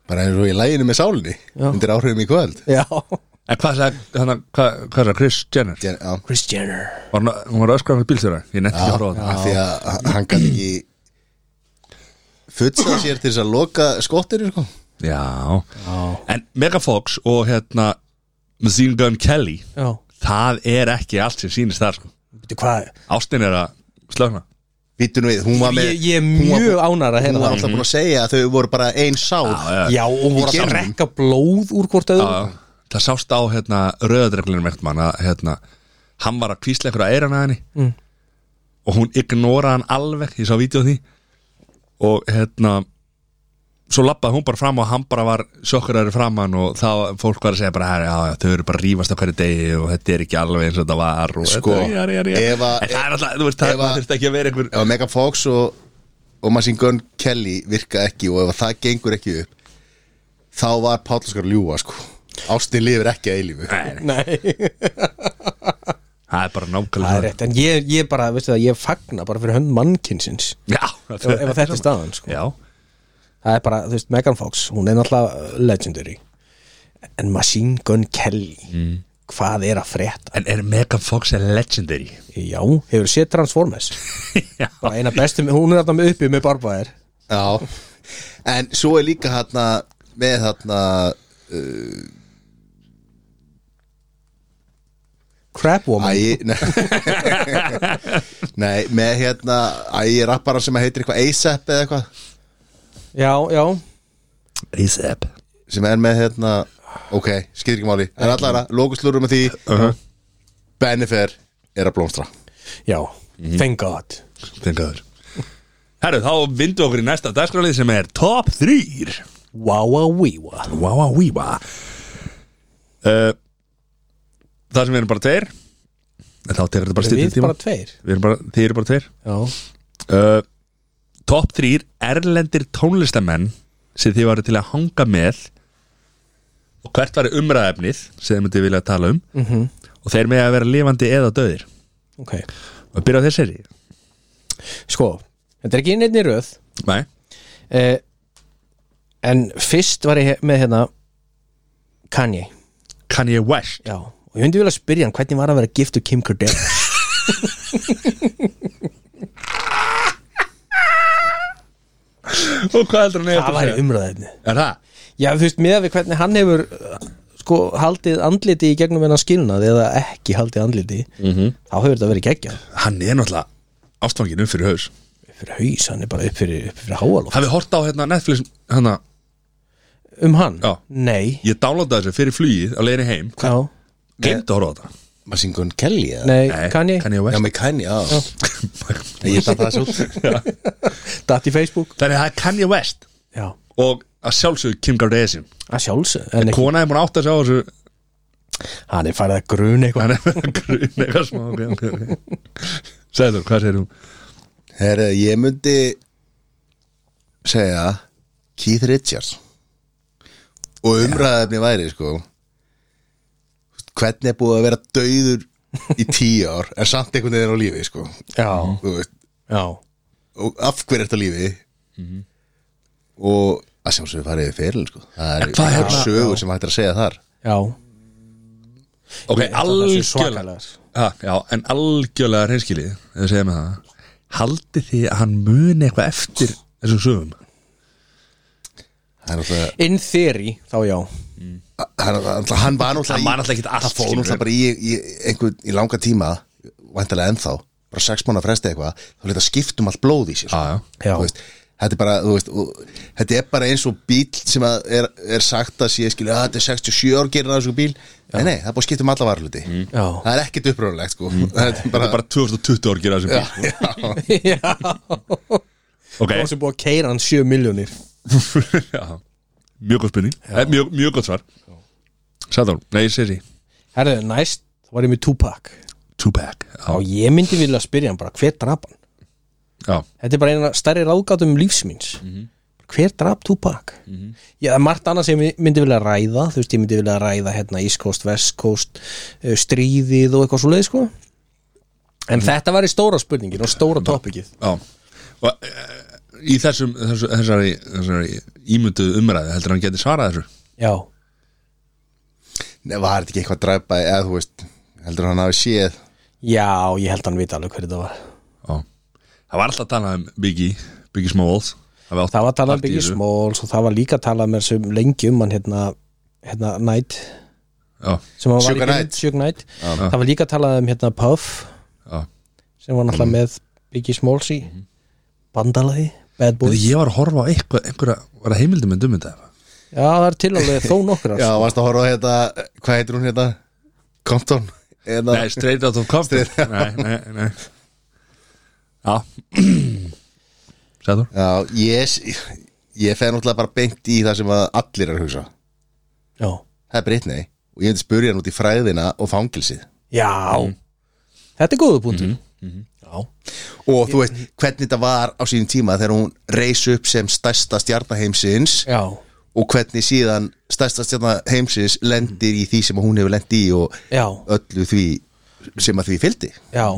S2: Bara eins og í læginu með sálinni
S1: Já.
S2: Undir áhrifum í kvöld
S1: já
S3: En hvað sagði, hana, hvað, hvað sagði Chris Jenner?
S2: Jen- Já,
S1: Kris Jenner
S3: Var hún, að- hún var öskrað fyrir bílstjóra Ég nefndi ekki að prófa
S2: af því að hann kann ekki futsað sér til þess að loka skottir sko.
S3: það Já. En Mega Fox og hérna Machine Gun Kelly
S1: Já,
S3: Það er ekki allt sem sýnist þar sko.
S1: veitu hvað
S3: Ástin er að slögna
S2: Býtu nú við, hún var með
S1: Ég, ég er
S2: hún var-
S1: mjög ánar að
S2: Hún
S1: hérna
S2: var
S1: það
S2: alltaf búin að segja að þau voru bara ein sál
S1: Já, og voru
S2: Í
S1: að
S2: gerum.
S1: drekka blóð úr hvort öðru
S3: Já, það sást á hérna rauðadreglunum eftir mann að hérna, hann var að kvísla ykkur að eyrana að henni mm. og hún ignoraði hann alveg ég sá vídeo af því og hérna svo lappaði hún bara fram og hann bara var sjokkuraður framann og þá fólk var að segja bara "Herra, já, já, þau eru bara að rífast á hverju degi og þetta er ekki alveg eins og þetta var og
S2: Sko,
S3: þetta, jari, jari, jari.
S2: ef að-
S3: en það er alltaf, þú veist, það
S2: ef að-
S3: maður þurfti ekki að vera einhver
S2: Ef að Megan Fox og, og Machine Gun Kelly virka ekki og ef að það gengur ekki upp þá var Páll Óskar að ljúga sko. Ástin lifir ekki að eilífu
S3: Nei, nei,
S1: Nei,
S3: það er
S1: það
S3: bara
S1: er
S3: nákvæmlega
S1: rétt En ég, ég bara, veistu það, ég fagna bara fyrir hönd mannkinsins
S3: Já,
S1: ef, ef að þetta er staðan sko.
S3: Já,
S1: það er bara, þú veist, Megan Fox hún er náttúrulega uh, legendary en Machine Gun Kelly hvað er að frétta?
S3: en er Megan Fox er legendary *laughs*
S1: Já, hefur séð Transformers
S3: Já
S1: bara eina bestu, hún er alltaf með uppi með Barbæðir
S2: Já, en svo er líka hérna með hérna
S1: Crab Woman
S2: Æ,
S1: *laughs*
S2: nei, nei, með hérna Æ, rappara sem heitir eitthvað ASAP eða eitthvað
S1: Já, já,
S3: ASAP
S2: sem er með hérna ok, skýr ekki máli, en allara lókuslur með því, Bennifer er að blómstra
S1: já, thank god
S3: Þengaður Herru, þá vindum við okkur í næsta dagskrálið sem er Top 3
S1: Wawawiwa
S3: Vá, vá, ví, vá uh, Það sem við erum bara tveir en Þá tekur þetta bara stýttum
S1: Við
S3: tíma
S1: bara tveir
S3: Við erum bara, Þið eru bara tveir
S1: Já,
S3: uh, Top 3 erlendir tónlistamenn sem þið varu til að hanga með og hvert var umræðefnið sem þið myndi vilja að tala um
S1: mm
S3: og þeir með að vera lifandi eða döðir
S1: ok
S3: og byrja á þessari
S1: Sko, þetta er ekki inn einni röð
S3: Nei,
S1: eh, En fyrst var ég he- með hérna Kanye
S3: Kanye West
S1: Já, og ég myndi vilja spyrja hann hvernig var að vera giftu Kim Kardashian
S3: og hvað heldur hann
S1: Það um-
S3: eigi eftir að
S1: var
S3: segja?
S1: umræðefni
S3: Er það?
S1: Já, þú veist, með að við hvernig hann hefur uh, sko, haldið andliti í gegnum hennar skilnað eða ekki haldið andliti
S3: Mhm.
S1: -hmm. þá hefur þetta verið geggjað
S3: Hann er náttúrulega ástfangin um fyrir haus
S1: upp fyrir haus, hann er bara upp fyrir, upp fyrir háaloft
S3: Hafið hort á hérna Netflix hérna,
S1: um hann?
S3: Já.
S1: Nei
S3: Ég downloadaði þessu fyrir flugið á leiðinni heim
S1: Já,
S3: Glemt að horfa á þetta
S2: maður syngur hann Kelly eða?
S1: nei, Eh, Kanye,
S3: Kanye
S2: Já,
S3: West
S2: með Kanye, já *laughs* Nei, Ég datt það svo
S1: datt í Facebook
S3: Þannig að það er Kanye West
S1: Já,
S3: og að sjálfsögðu Kim Kardashian
S1: að sjálfsög en ekki,
S3: Kona er búin að átta sig á þessu
S1: hann er farið að gruna eitthvað
S3: Hann er *laughs* með grun eitthvað smá okay, okay, okay. Sæður, hvað segir þú?
S2: Herra, ég myndi segja Keith Richards og umræðefni væri sko hvernig er búið að vera dauður í tíu ár en samt einhvern veginn á lífi sko
S3: Mhm.
S1: Já,
S2: Þú veist,
S1: já,
S2: og af hverju ertu á lífi og að sjálfsögur farið við feril sko það er,
S3: hvað
S2: það
S3: hérna-
S2: er sögur sem hægt er að segja þar
S1: já
S3: Ok,
S1: Það er
S3: algjörlega
S1: svakalegar
S3: ha, Já, en algjörlega reynskilið ef við segjum það Haldið þið að hann muni eitthvað eftir þessum sögum?
S2: Það er náttúrulega
S1: In theory, þá já
S2: hann, hann, hann var náttúrulega
S3: Hann
S2: í-
S3: var náttúrulega ekkert allt,
S2: það fór
S3: skilur
S2: náttúrulega
S3: við.
S2: bara í, í einhvern í langa tíma vantilega ennþá, bara sex mánu að fresta eitthvað þá leta skiptum allt blóð í sér sko.
S3: Já, já.
S1: Já.
S2: Þú veist, þetta er bara þú veist, og, þetta er bara eins og bíl sem að er, er sagt að sé skilja að þetta er 67 ár gerir þessu bíl nei, nei, það er búið að skipta um alla varluti
S3: Mm.
S1: Já.
S2: það er ekkert uppröðulegt sko. *laughs* þetta er
S3: Bara,
S2: bara,
S3: bara 2020 ár gera þessum bíl
S2: já,
S1: *laughs* Já
S3: Ok,
S1: Og sem búið að keira hann 7 miljónir
S3: já Mjög góð spurning, Eh, mjög, mjög góð svar Sæður, nei, ég segir því
S1: Herðu, næst, þá var ég með Tupac
S3: Tupac,
S1: Og
S3: já,
S1: ég myndi vilja spyrja hann bara, hver drap hann?
S3: já
S1: Þetta er bara eina stærri ráðgátum lífsmins
S2: Mhm.
S1: Hver drap Tupac? Mm -hmm. Já, það er margt annað sem ég myndi vilja ræða Þú veist, ég myndi vilja ræða hérna East Coast, West Coast eh, Stríðið og eitthvað svo leið, sko En
S2: Mhm.
S1: þetta var í stóra spurningin og stóra topikið
S3: Já Og uh, í þessum, þessu, þessari, þessari ímynduðu umræði heldur hann geti svarað þessu
S1: Já,
S2: nei, var þetta ekki eitthvað að dræpa eða þú veist, heldur hann hafi séð
S1: já, ég held hann vita alveg hverju þetta var
S3: Já Það var alltaf að tala um Biggie, Biggie Smalls Það var,
S1: Það var talað um Biggie Smalls og það var líka talað með sem lengi um hann hérna, hérna Night
S3: Já,
S1: sem hann var
S2: Suge
S1: í byrjun,
S2: Knight.
S1: Suge Knight Það var líka talað um hérna Puff
S3: já
S1: sem var
S2: Mhm.
S1: náttúrulega með Biggie Smalls í bandalagi, Bad
S3: Búið,
S1: Boys
S3: Ég var að horfa á eitthvað, einhverja, var það heimildum en dummynda
S1: Já, það er til alveg þó nokkrar
S2: já, varst að horfa á þetta, hvað heitir hún hérna Compton eða,
S3: Nei, straight out of comfort Nei, nei, nei *clears throat* Já Sæður
S2: Já, ég, ég fer náttúrulega bara beint í það sem að allir er að hugsa
S1: Já,
S2: Það er Britney og ég myndi spyrja hann út í fræðina og fangilsið
S1: já.
S2: Mhm.
S1: Þetta er góðu punktur Já,
S2: Og þú veist, hvernig þetta var á sínum tíma þegar hún reis upp sem stærsta stjarnaheimsins
S1: já,
S2: og hvernig síðan stærsta stjarnaheimsins lendir í því sem hún hefur lend í og
S1: já,
S2: öllu því sem að því fylgdi
S1: já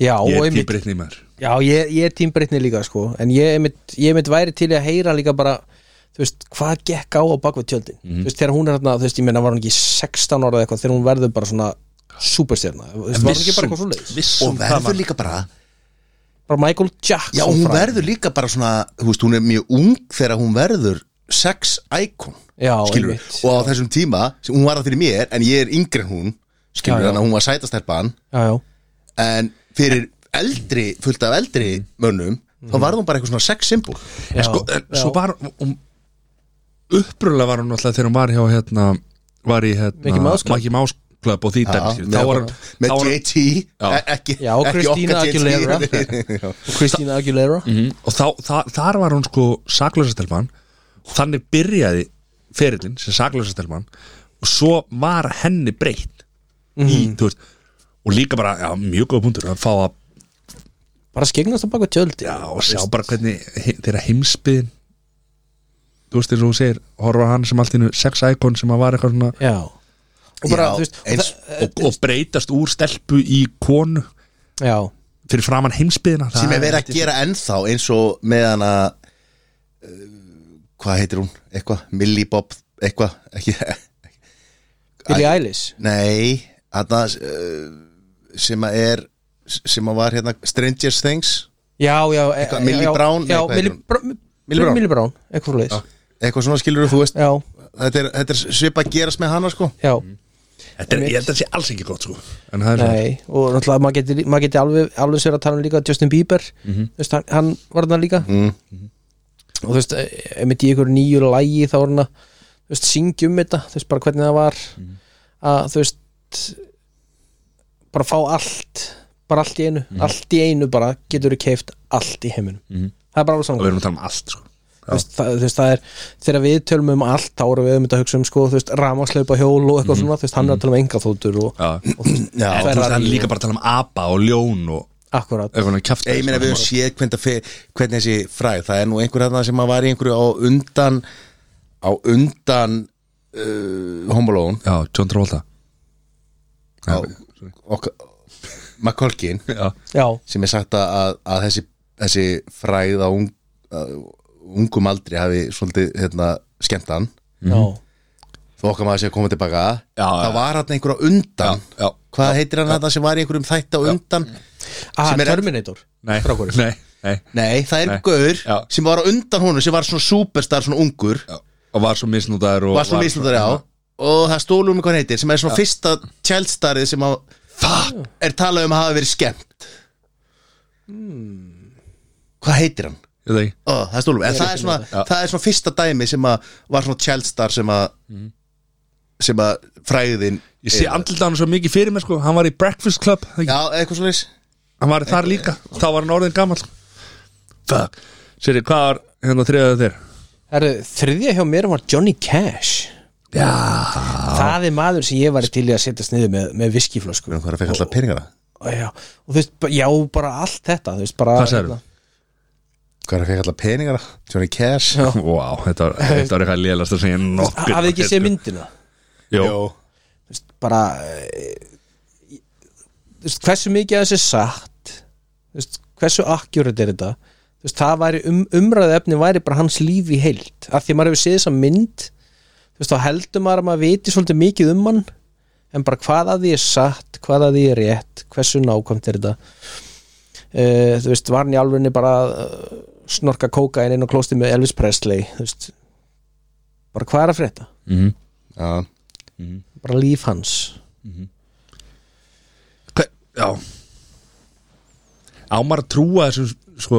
S1: Já, og
S3: Ég er
S1: einmitt,
S3: tíbrittni maður
S1: já ég, ég er tímbreytni líka sko, en ég einmitt, ég einmitt væri til í að heyra líka bara þú veist, hvað gekk á á bakvið tjöldin
S2: Mhm.
S1: þú veist, þegar hún er hérna, þú veist, ég meina var hún ekki 16 ára eða eitthvað, þegar hún verður bara svona superstjarna, þú veist, var hún ekki bara eitthvað svo leiðis
S2: Og verður líka bara
S1: bara Michael Jackson
S2: Já, hún
S1: fræg.
S2: verður líka bara svona Þú veist, hún er mjög ung þegar hún verður sex icon
S1: Já,
S2: skilur
S1: einmitt.
S2: og á þessum tíma, sem hún var það fyrir mér en ég er yngri en hún, skilur
S1: Já, já.
S2: þannig að hún var sætastelpan
S1: já, já,
S2: en fyrir eldri, fullt af eldri
S1: Mm.
S2: mönnum, þá varð hún bara eitthvað svona sex symbol
S1: já,
S3: En sko, en,
S1: já.
S3: svo var um, upprunalega var hún alltaf þegar hún var hjá hérna, var í
S1: Mickey
S3: hérna
S1: Mouse Club.
S3: Maggi Másklöp og því dæmi skilur. þá
S2: með,
S3: var hann
S2: með
S3: þá var hann-
S2: JT
S3: Já.
S2: e- ekki,
S1: Já, og
S2: ekki
S1: Christina
S2: okkar
S1: Aguilera.
S2: JT *laughs* Já.
S1: Christina Aguilera
S3: Mhm. og þá, þa, þar var hún sko saklösa stelpan þannig byrjaði ferillin sem saklausastelman og svo var henni breytt í,
S1: Mhm.
S3: þú veist og líka bara, já, mjög góða punktur að fá að,
S1: bara skegnast á baka tjöld
S3: já, og sjá bara hvernig hi- þeirra heimsbyðin þú veist eins og hún segir, horfa á hann sem allt í einu sex icon sem að var eitthvað svona
S1: já. og bara,
S2: Já,
S1: þú veist og
S2: eins-
S1: það-
S3: og, og breytast úr stelpu í konu
S1: já,
S3: fyrir framann heimsbyðina
S2: sem er verið að gera ennþá eins og með hana uh, hvað heitir hún, eitthvað Millie Bob, eitthvað ekki,
S1: Billie Eilish
S2: nei, hana uh, sem að er sem að var hérna Stranger Things
S1: já, já, e-
S2: Eitthvað,
S1: já,
S2: Millie
S1: já,
S2: Brown,
S1: já,
S2: nei, hvað
S1: Millie
S2: heitir hún?
S1: Brown,
S2: Millie Brown.
S1: Millie Brown eitthvað fyrir leis
S2: eitthvað svona skilur þú veist
S1: já,
S2: þetta er, þetta er svipa að gerast með hana sko
S1: já,
S3: Þetta er, ég held að það sé alls ekki gott sko En það er svo
S1: nei og náttúrulega maður geti, maður geti alveg, alveg sér að tala um líka Justin Bieber, þú veist, hann, hann var hann líka
S2: mm.
S1: og þú veist, eh, einmitt í ykkur nýju lægi þá var hann að, þú veist, syngja um þetta þú veist, bara hvernig það var að, þú veist bara fá allt, bara allt í einu allt í einu bara, getur þú keift allt í heiminum, það er bara alveg
S3: Og
S1: saman
S3: við erum að tala um allt sko
S1: þú veist, það, þú veist, það er þegar við tölum um allt þá erum við um þetta að hugsa um sko, þú veist, rámaslaupa hjól og eitthvað svona, þú veist, hann er að tala um engaþótur og,
S3: Já
S1: og þú veist,
S2: Já,
S3: En þú veist, hann er líka bara að tala um apa og ljón og
S1: akkurat,
S3: eitthvað sko, kjæft
S2: Ég meina við höfum séð hvernig, það fer- hvernig þessi fræð það er nú einhver hérna sem að var í einhverju á undan á undan uh, homolóun
S3: Já, John Travolta
S2: á okkar Makolkin
S3: Já,
S1: já,
S2: sem er sagt að, að, að þessi, þessi fræð á ung, að, ungum aldri hafi svolítið hérna, skemmt hann
S1: já
S2: þó okkar maður sé að koma tilbaka
S3: Já, já.
S2: það var hann einhver á undan
S3: Já, já.
S2: hvað heitir hann þetta sem var í einhverjum þætti á undan
S1: ah,
S2: Sem er-
S1: Terminator,
S3: nei, nei, nei
S2: nei það er
S3: Nei.
S2: gaur
S3: Já.
S2: sem var á undan honum sem var svona superstar svona ungur
S3: Já. Og var svo misnútaður og
S2: var svona mislutar á og það stólu um hvað hann heitir sem er svona fyrsta tjálstarið sem að Fuck. er talað um að hafa verið skemmt hvað heitir hann?
S3: Ég Hmm. veit það ekki
S2: Ó, það er stólum, en það er, svona, það er svona fyrsta dæmi sem að var svona tjálstar sem að sem að fræðin
S3: Hmm. Ég sé andlut á hann svo mikið fyrir mér sko Hann var í Breakfast Club það ekki?
S2: Já, eitthvað svona
S3: Hann var þar líka Þá var hann orðin gamall Fuck Sérri, hvað var hérna þriðaðu þér?
S1: Herru, þriðja hjá mér var Johnny Cash Já Það er maður sem ég var til í að setja sniðu með, með viskiflösku
S2: Hvað er að fekk alltaf peningana?
S1: já, og þú veist, ba- já, bara allt þetta þú veist, bara hérna.
S3: Hvað sagðirðu?
S2: Hvað er að fekk allaf peningana? Johnny Cash?
S3: Vá, þetta var, þetta var eitthvað lélast að segja nokkuð sko.
S1: Hafið ekki séð myndina
S3: Jó,
S1: Þú veist, bara eh, þú veist, hversu mikið af þessi er satt þú veist, hversu akkurat er þetta þú veist, það væri um, umræðu efni væri bara hans líf í heild af því að maður hefur séð þessa mynd þú veist, þá heldur maður að maður viti svolítið mikið um hann en bara hvað að því er satt hvað að því er rétt, hversu nákvæmt er þetta uh, þú veist, var hann í alvegni bara að eh, snorka kóka inn og klósti með Elvis Presley þú veist bara hvað er að frétta,
S3: Mhm.
S2: Já,
S1: bara líf hans
S3: Hver, já Ámar að trúa þessum sko,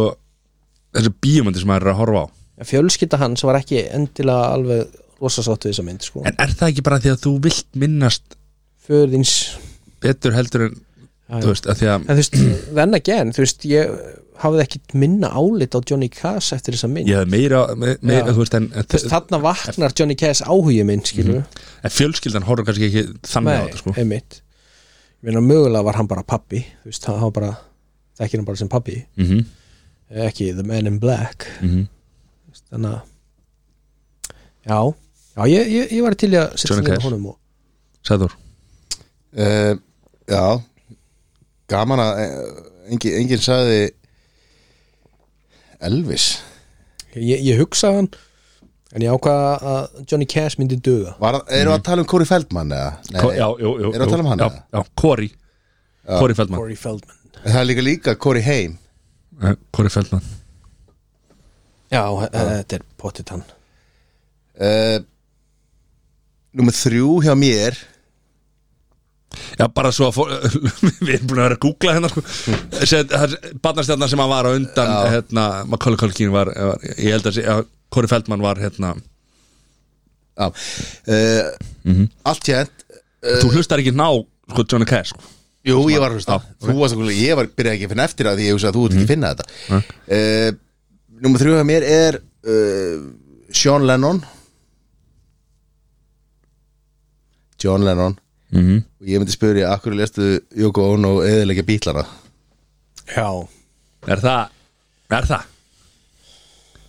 S3: þessu bíumandi sem maður er að horfa á
S1: En fjölskylda hans var ekki endilega alveg rosasátt við þessa mynd sko.
S3: En er það ekki bara því að þú vilt minnast
S1: föður þins
S3: betur heldur en
S1: já.
S3: þú veist, að því að
S1: en þú veist, then again þú veist, ég hafði ekki minna álit á Johnny Cass eftir þessa mynd
S3: ég hef meira, me- meira
S1: Já.
S3: þú veist, en, en,
S1: Þú veist, þarna vaknar Johnny Cass áhugi minn skilur, mm
S3: en fjölskyldan horfður kannski ekki þannig á þetta sko
S1: einmitt ég meina mögulega var hann bara pappi þú veist, hann hann var bara, þekkir hann bara sem pappi
S3: mm
S1: ekki The Man in Black
S3: mhm.
S1: Þú veist, þannig að já, já ég, ég, ég var til í að setja
S3: Johnny
S1: niður með
S3: Cash.
S1: honum og
S3: Sæður
S2: uh, já. Gaman að eh, engin, enginn sagði Elvis
S1: ég, ég hugsaði hann en ég ákvaða að Johnny Cash myndi duga
S2: var, Eru að tala um Corey Feldman eða? Nei,
S3: Mhm. Já, jú, jú,
S2: Eru að
S3: jú.
S2: tala um hann
S3: Já,
S2: eða?
S3: já, Kori Kori Feldman
S1: Corey Feldman
S2: Það er líka líka Corey Haim
S3: Eh, Corey Feldman
S1: Já, eh, þetta er pottit hann
S2: uh, Númer þrjú hjá mér
S3: Já, bara svo að fó... *laughs* við erum búin að vera að googla hérna sko. Barnastjarnar sem hann var á undan hérna, Macaulay Culkin var, var ég held að sé, já, Corey Feldman var hérna
S2: Já uh,
S3: Mhm.
S2: Allt hérnt Eh.
S3: Þú hlustar ekki ná, sko, Johnny Cash sko.
S2: Jú, ég var að hlusta
S3: Já, ok.
S2: Þú varst að hlusta, ég var byrjaði ekki að finna eftir Eh, að því ég hugsa að þú ert ekki að finna þetta uh, Númer þrjú hjá mér er uh, Sean Lennon John Lennon
S3: mm -hmm.
S2: og ég myndi spyrja, akkur lestu Yoko Ono eðilegja bítlana
S1: Já,
S3: Er það? Er það?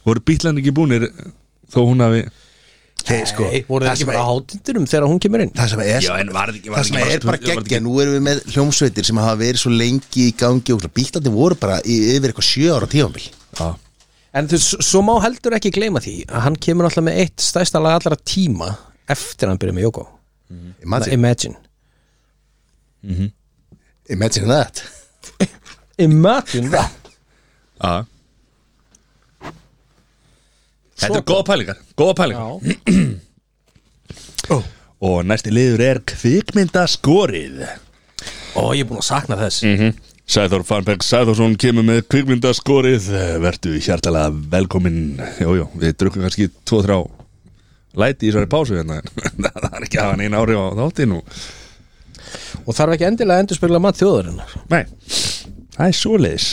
S3: Voru bílandi ekki búnir þó hún hafi
S2: Þeir sko,
S1: Nei, voru það
S2: það
S1: ekki
S2: sem
S1: bara
S2: er-
S1: hátindunum þegar hún kemur inn
S2: það sem er
S3: en var ekki
S2: það sem er bara geggja, nú erum við með hljómsveitir sem hafa verið svo lengi í gangi og bítlandi voru bara í, yfir eitthvað sjö ára tífambil
S3: Já,
S1: En þú, s- svo má heldur ekki gleyma því að hann kemur alltaf með eitt stærsta lag allra tíma eftir að hann byrja með Jóko
S2: Imagine,
S1: Imagine
S2: imagine that
S1: Imagine that
S3: já Þetta er góða pælingar Góða pælingar
S1: Já,
S3: Og næsti liður er kvikmyndaskorið
S1: og ég er búin að sakna þess
S3: Mhm. Sæþór Farnberg Sæþórsson kemur með kvikmyndaskorið Vertu hjartalega velkominn Jújú, við drukum kannski 2-3 læti í svari pásu hérna *laughs* en Það er ekki að hafa neina áhrif á þáttinu
S1: Og þarf ekki endilega að endurspegla mann þjóðarinnar
S3: Nei, það er svoleiðis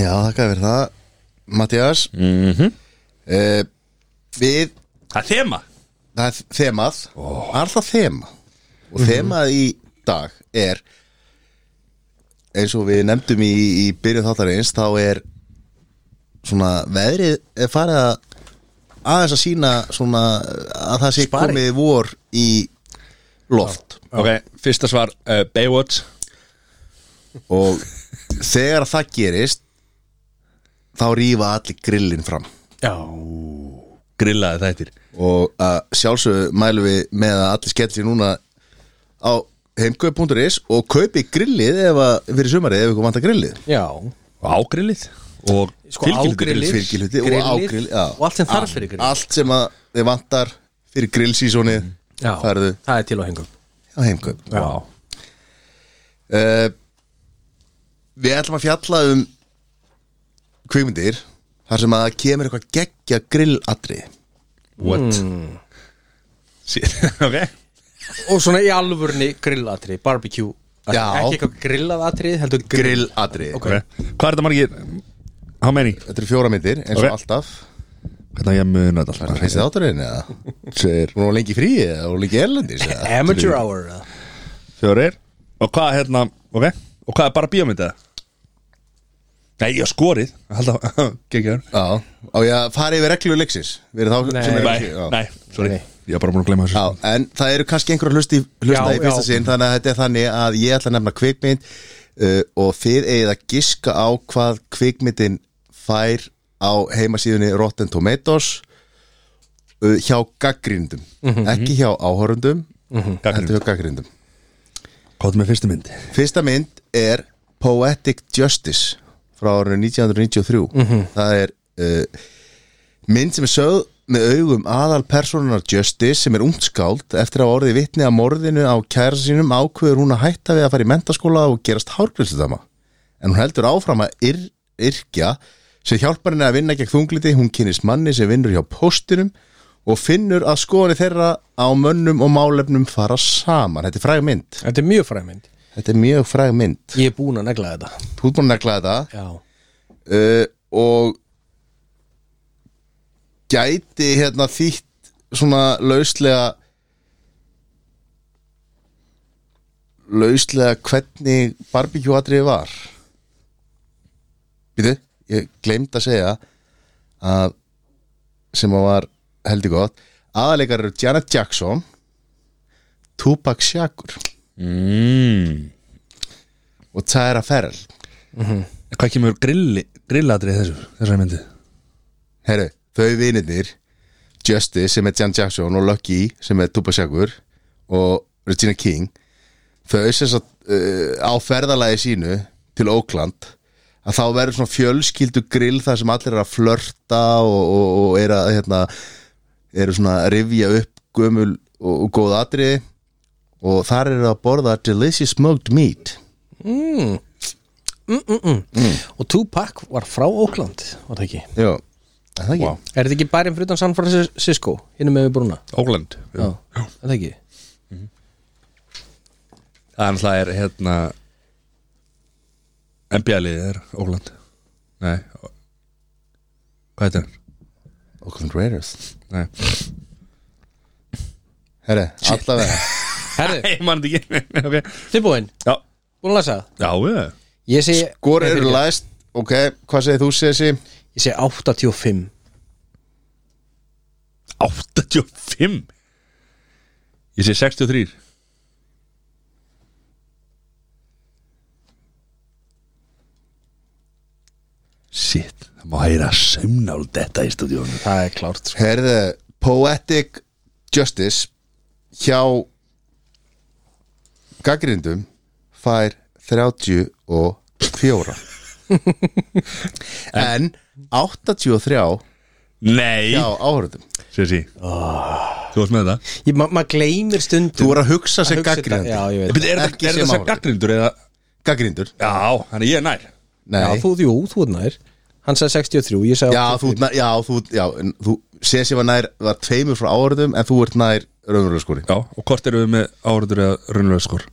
S2: Já, þakka fyrir það, Mattias
S3: mm -hmm.
S2: uh, Við,
S3: Það er þema
S2: það er þemað oh. Alltaf þema Og þemað í dag er eins og við nefndum í, í byrjun þáttarins þá er svona veðrið er farið að aðeins að sína svona að það sé
S1: Spari.
S2: komið vor í loft
S3: Ok, fyrsta svar uh, Baywatch
S2: og þegar það gerist þá rýfa allir grillin fram
S1: Já
S3: Grillaði þættir
S2: og að sjálfsögðu mælum við með að allir skellir núna á heimkaup.is og kaupi grillið ef að fyrir sumarið ef ykkur vantar grillið
S1: Já
S3: Og ágrillið Og
S1: Sko,
S3: tilkynntu
S1: ágrillið.
S3: grillið.
S2: fyrgilhuti og
S1: Grillið
S2: ágrill já.
S1: og allt sem þarf fyrir grillið. Mm.
S2: allt sem að þið vantar fyrir grillsísónið
S1: Já,
S2: færðu
S1: það er til að hengum
S2: á heimkaup
S1: Já,
S2: uh, við ætlum að fjalla um kvikmyndir þar sem að það kemur eitthvað geggja grilladrið
S3: What?
S1: Hmm.
S3: *laughs* Shit, ok
S1: Og svona í alvörni grillatri, barbecue
S2: Já.
S1: Ekki eitthvað grillatri, heldur grill
S2: grilladrið
S1: Ok.
S3: Ok, hvað er þetta margir? How many?
S2: Þetta eru fjóra myndir eins og
S3: Ok.
S2: alltaf
S3: Hvernig á ég að muna
S2: Það
S3: þetta
S2: er
S3: alltaf?
S2: hreinst þátturinn eða?
S3: Tveir,
S2: Hún var lengi í fríi eða hún var lengi erlendis eða?
S1: *laughs* Amateur hour eða?
S3: fjórir Og hvað hérna, ok Og hvað er bara bíómyndið? Nei, ég skorið Hallda, *laughs* geggjör
S2: Já, á ég að fara yfir reglu leiksins Verið þá
S1: Nei.
S2: sem er
S3: Nei,
S2: já.
S3: nei, sorry
S1: Nei.
S3: Ég var bara búin að glemma
S2: Já,
S3: þessu
S2: en það eru kannski einhverjum hlusti hlusta
S1: Já,
S2: í fyrsta
S1: já.
S2: sinn þannig að þetta er þannig að ég ætla að nefna kvikmynd uh, og þið eigið að giska á hvað kvikmyndin fær á heimasíðunni Rotten Tomatoes uh, hjá gaggrindum
S1: Mhm.
S2: ekki hjá áhorundum mm -hmm. heldur hjá gaggrindum
S3: Hvað er með fyrstu myndi?
S2: Fyrsta mynd er Poetic Justice frá árinu 1993 það er uh, mynd sem er sögð með augum aðal personunar Justice sem er umskáld eftir að orði vitni að morðinu á kæra sínum ákveður hún að hætta við að fara í mentaskóla og gerast hárgrilsutama en hún heldur áfram að yr, yrkja sem hjálpar henni að vinna gegn þungliti hún kynist manni sem vinnur hjá póstinum og finnur að skoðanir þeirra á mönnum og málefnum fara saman þetta er fræg mynd
S1: Þetta er mjög fræmind
S2: þetta er mjög fræg mynd
S1: Ég er búin að negla þetta
S2: þú ert búin að negla þetta
S1: Já
S2: uh, og gæti hérna þýtt svona lauslega lauslega hvernig barbecue-atriði var býtu, ég gleymd að segja að sem að var heldig gott aðalegar eru Janet Jackson Tupac Shakur
S3: Mm.
S1: Hmm.
S2: og Tyra Ferrell
S3: Hvað kemur grilli, grilladrið þessu, þessari myndi?
S2: Herru, þau vinirnir Justice sem er Jan Jackson og Lucky sem er Tuba Shakur og Regina King þau sem satt uh, á ferðalagi sínu til Oakland að þá verður svona fjölskyldu grill þar sem allir er að flörta og, og, og er að hérna, eru svona að rifja upp gömul og, og góð atriði og þar eru að borða delicious smoked meat
S1: Og Tupac var frá Ókland, var það ekki?
S2: Já, er það ekki?
S3: Vá.
S1: Er þetta ekki bærin fyrir utan San Francisco, hinnum með við brúna?
S3: Ógland
S1: Já, er það ekki?
S3: Það er náttúrulega er hérna NBA-liðið er Óland Nei Hvað heitir hann?
S2: Oakland Raiders
S3: Nei.
S2: Herre, allavega
S1: Herðu,
S3: *laughs* Ég man þetta ekki *laughs* okay.
S1: tilbúin,
S3: Já,
S1: búin að lasa það
S3: já, já
S1: Ég sé,
S2: Hvor eru læst, ok, hvað segir þú Sessi?
S1: ég sé 85
S3: 85 Ég sé 63 Sitt, það má heyra sömnál þetta í stúdíónu
S1: Það er klárt sko.
S2: Herðu, Poetic Justice hjá gaggrindum fær *laughs* 34 en 83
S3: Nei,
S2: hjá áhörðum
S3: sér sí Þú varst með þetta
S1: Ég- ma- Maður gleymir stundum
S2: Þú voru að hugsa
S1: að
S2: sem
S1: hugsa þetta. Já,
S2: gaggrindur
S1: ég
S3: Er
S1: veit
S3: þetta- er
S2: Ekki sem
S3: þetta sem, sem
S2: áhorfandi.
S3: gaggrindur eða
S2: Gaggrindur?
S3: Já, þannig ég er nær
S2: Nei
S1: Já, þú, jú, þú er nær Hann sagði 63, ég sagði
S2: Já, þú, ert nær- já, þú, já, en þú Sessi var nær, var tveimur frá áhörðum en þú ert nær raunverulega skori
S3: Já, og hvort eru við með áhörður eða raunlega skor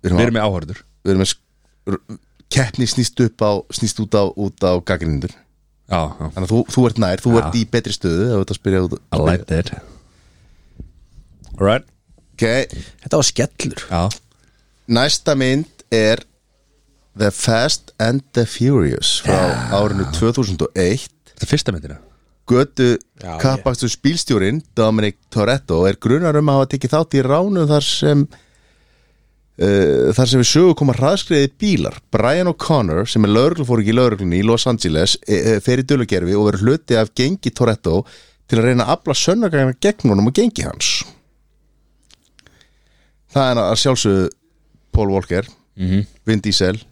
S3: Við erum með áhörður
S2: við erum með sk- r- keppni snýst upp á snýst út á, út á gaggrindur
S3: Já, já
S2: þannig að þú, þú ert nær, þú ert í betri stöðu ef þú ert að spyrja út
S3: I like that Alright
S2: ok,
S1: Þetta var skellur
S3: Já
S2: næsta mynd er The Fast and the Furious frá árinu 2001
S3: Þetta er fyrsta myndina
S2: götu
S1: Já,
S2: kappastu spílstjórin Dominic Toretto er grunar um að hafa tekið þátt í ránu þar sem uh, þar sem við sögu koma hraðskriði bílar Brian O'Connor sem er lögreglufóringi í lögreglunni í Los Angeles e, e, fer í dölugerfi og verður hluti af gengi Toretto til að reyna að afla sönnagagna gegn honum og gengi hans það er að sjálfsögðu Paul Walker
S1: Mhm.
S2: Vin Diesel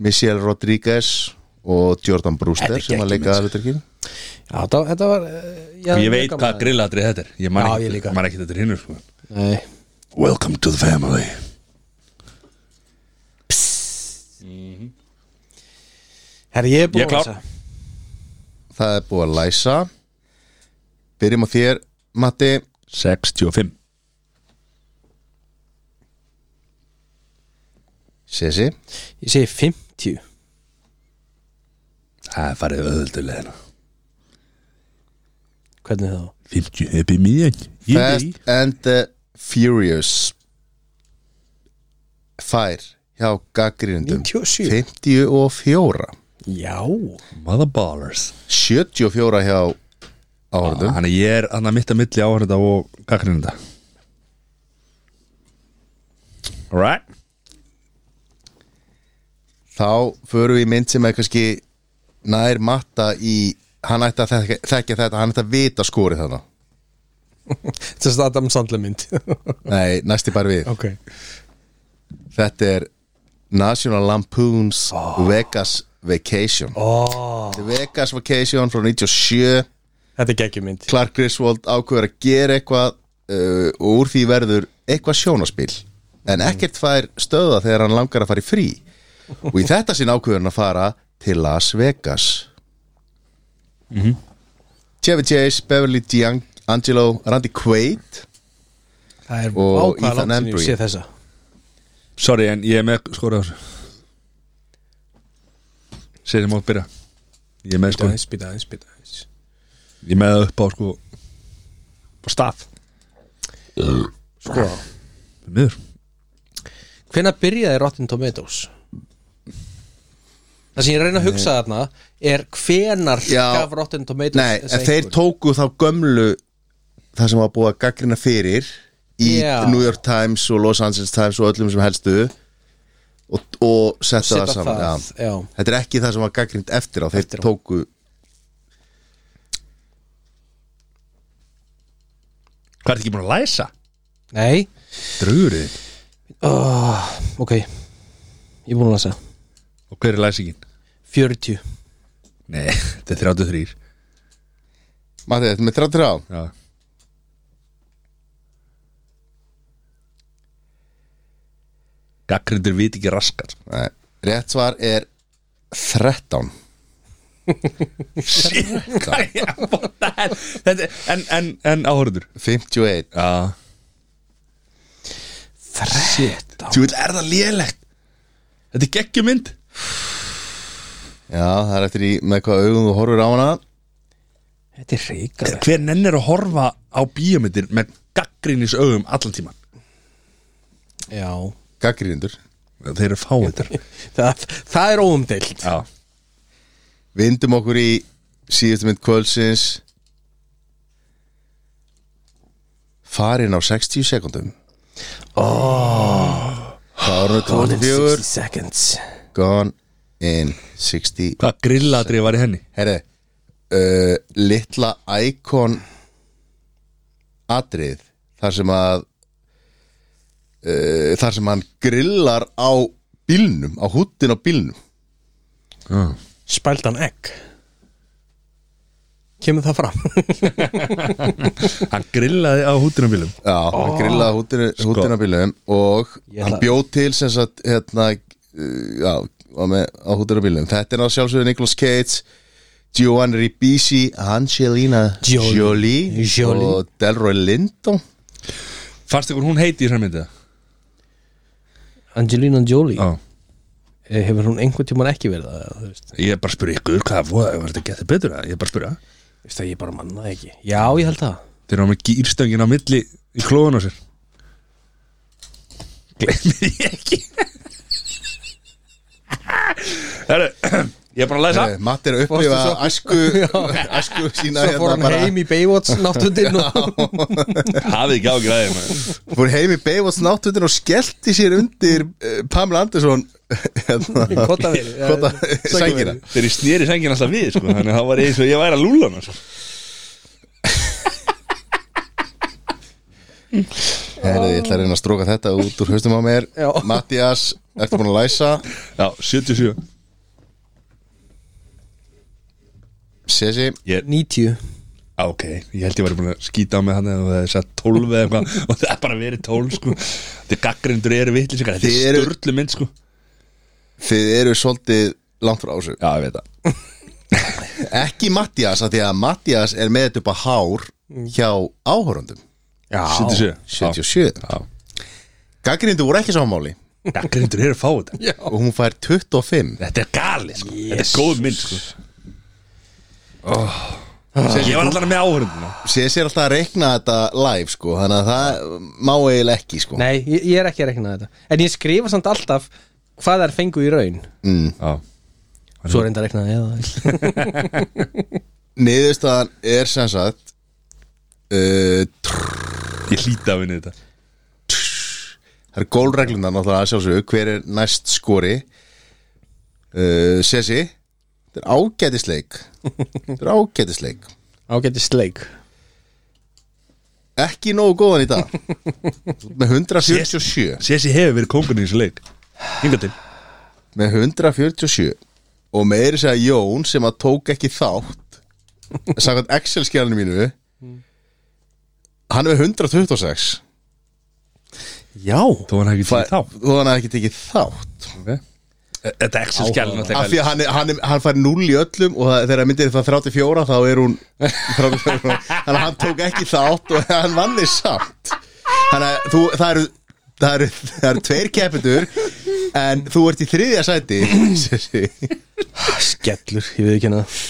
S2: Michelle Rodriguez og Jordan Brewster sem að leika að hlutarkinu
S1: Já, þetta, þetta var eh, já,
S3: Ég veit
S1: gaman.
S3: hvað grilladrið þetta er Ég man
S1: Já, ég
S3: ekki,
S1: líka.
S3: man ekki þetta er hinnur sko.
S1: Nei,
S3: Welcome to the family
S1: herri, ég er
S3: Ég
S1: búin
S3: er
S1: að
S3: klár.
S1: lasa
S2: Það er búið að læsa Byrjum á þér, Matti
S3: 65
S2: Sessi
S1: Ég segi 50
S3: Það er farið hérna. öðvöldulegina
S1: Hvernig þá?
S3: 50 upp í miðjan
S2: Fast and the Furious Fær hjá gaggrindum
S1: 97
S2: 54
S1: Já,
S3: Mother ballers
S2: 74 hjá áhörðum
S3: Þannig ég er annað mitt að milli áhörða og gaggrinda Alright
S2: Þá förum við í mynd sem er kannski nær matta í hann ætti að þekka, þekka þetta, hann ætti að vita skorið þarna
S1: þetta er Adam Sandler mynd
S2: Nei, næsti bara við
S1: *laughs* Ok
S2: Þetta er National Lampoon's Vegas Vacation
S1: oh,
S2: The Vegas Vacation frá 97
S1: Þetta er geggjum mynd
S2: Clark Griswold ákveður að gera eitthvað uh, og úr því verður eitthvað sjónaspil en ekkert fær stöða þegar hann langar að fara í frí og í þetta sinn ákveður hann að fara til Las Vegas Chevy Chase, Beverly D'Angelo Randy Quaid
S1: Það er
S2: Og
S1: ákvæða
S2: Ethan
S1: langt sem ég
S2: Embry.
S1: sé þessa
S3: Sorry, en ég er með skora á þessu Sér ég mátt byrja Ég er með sko
S1: Spýta aðeins, spýta aðeins, spýta aðeins
S3: Ég er með það upp á sko Á stað
S1: Sko,
S3: Því Miður
S1: hvenær byrjaði Rotten Tomatoes? Það sem ég reyna að hugsa þarna er hvenar
S2: Já.
S1: gaf Rotten Tomatoes
S2: Nei,
S1: þessa
S2: en þeir
S1: einkunn?
S2: tóku þá gömlu það sem var búið að gaggrina fyrir í
S1: Já.
S2: New York Times og Los Angeles Times og öllum sem helstu og, og setja það
S1: Setja
S2: saman já.
S1: það, já.
S2: Þetta er ekki það sem var gaggrind eftir á Þeir
S1: Eftir á.
S2: tóku
S3: Hvað ertu ekki búin að læsa?
S1: Nei,
S3: Drögurði
S1: oh, ok Ég er búin að lasa
S3: Og hver er læsingin?
S1: 40
S3: Nei, *laughs* þetta er 33
S2: Matti, þetta er með 33 á
S3: Já Gaggrindur vit ekki raskar
S2: Nei. Rétt svar er 13
S3: *laughs* Shit, *laughs* hvað er ég að bóta þetta? er- En, en, en áhörður
S2: 51
S3: Já
S1: 13
S3: Þú vil er það lélegt Þetta er geggjumynd
S2: Já, það er eftir í með hvað augum þú horfir á hana
S1: Þetta er ríkalegt
S3: hver nennir að horfa á bíómyndir með gaggrinis augum allan tíman
S1: Já,
S2: gaggrindur
S3: þeir eru fáindir
S1: það, það er óumdeilt
S3: já,
S2: Við indum okkur í síðustu mynd kvöldsins Farin á 60 sekundum oh, Fárun 24
S1: seconds
S2: Gone in 60
S3: hvað grilladrið var í henni
S2: Herre uh, Litla Icon Atrið Þar sem að uh, Þar sem hann grillar á bílnum Á húttin á bílnum
S3: já.
S1: Spældan egg Kemur það fram
S3: hann grillaði á hútinabílum
S2: Já, hann grillaði hútinu, hútinu á bílnum Og
S1: sko. Ég
S2: hann
S1: ætla-
S2: bjó til sem sagt hérna, uh, Já, var með, á hútinu á bílnum Þetta er á sjálfsögðu Nicolas Cage Giovanni Ribisi Angelina
S1: Jolie.
S2: Jolie,
S1: Jolie.
S2: Og Delroy Lindo
S3: fannst ykkur hún heiti í þessar myndið
S1: *laughs* Angelina Jolie
S3: já
S1: Eh, Hefur hún einhvern tímann ekki verið það eða, þú veist?
S3: Ég er bara að spyrja ykkur, hvað var var þetta að geta betur að? Ég er bara að spyrja
S1: Þú veist að ég bara manna það ekki Já, ég held það
S3: Þeir eru með gýrstöngin á milli í klóðun á sér Gleimir ég ekki Herru, ég er bara að læsa
S2: Eh, Matti er að upplifa
S1: Varstu svo-
S2: æsku
S1: *laughs*
S2: æsku sína hérna
S1: Svo fór hann
S2: bara- *laughs*
S1: heim í Baywatch náttundin og...
S3: Hafið ekki ágræði
S2: fór heim í Baywatch náttúndin og skellti sér undir uh, Pamela Andersson *laughs* hérna,
S1: Kotavél, ja,
S2: kota- sængina
S3: Þeir eru snýri sengin alltaf við sko, Þannig að það var eins og ég væri að lúla hana sko.
S2: Herðu, ég ætla að reyna að stróka þetta út úr haustum á mér
S1: Já.
S2: Mattias, ertu búin að læsa
S3: Já, 77
S2: Sesi,
S1: *laughs*
S3: ég,
S1: 90
S3: á, Ok, ég held ég væri búin að skýta á mig hann eða það er satt 12 eða eitthvað *laughs* og það er bara verið 12 sko. Þetta er gaggrindur eru vitlis Þetta
S2: Þið
S3: er
S2: eru-
S3: störlu mynd sko.
S2: þið eru svolítið langt frá þessu
S3: Já, ég veit það
S2: *laughs* ekki Mattias, af því að Mattias er með þetta upp að hár hjá áhorundum
S1: Já
S3: 77 Já.
S2: 77
S3: Já.
S2: Gaggrindu voru ekki samanmáli
S3: Gaggrindur eru að fá þetta
S2: og hún fær 25
S3: Þetta er gali sko. Þetta er góð mynd sko.
S2: Oh.
S3: Ég
S2: Ah.
S3: var alltaf með áhörðina
S2: Sesi er alltaf að reikna þetta live sko, þannig að það má eiginlega ekki sko.
S1: Nei, ég, ég er ekki að rekna þetta En ég skrifa samt alltaf hvað þær fengu í raun
S2: Mm.
S1: Svo reynda að rekna *laughs* það
S2: Niðurstaðan er sem sagt uh, trrr,
S3: Ég hlýta að vinna þetta
S2: Það er gólreglundar náttúrulega að sjálfsögðu Hver er næst skori uh, Sessi Þetta er ágætisleik Þetta er ágætisleik
S1: Ágæti sleik
S2: Ekki nógu góðan í dag Þú ert Með 147
S3: Sessi hefur verið kóngurinn í þessu leik Hinga til
S2: Með 147 Og meiri segja Jón sem að tók ekki þátt Samkvæmt Excel-skjálinu mínu Hann er með 126
S1: Já
S3: Þó hann hafi ekki
S2: Fæ-
S3: til þá
S2: Þó hann hafði ekki tekið þátt
S3: okay. Þetta Excel skjálf
S2: af því að hann, er- hann, er- hann fær 0 í öllum og það, þegar myndir það 34 þá er hún 34, þannig að hann tók ekki þátt og hann vann þið samt þannig að þú, það eru það eru, það eru tveir keppendur en þú ert í þriðja sæti Sessi.
S1: Ah, Skellur, ég veit ekki hérna. hana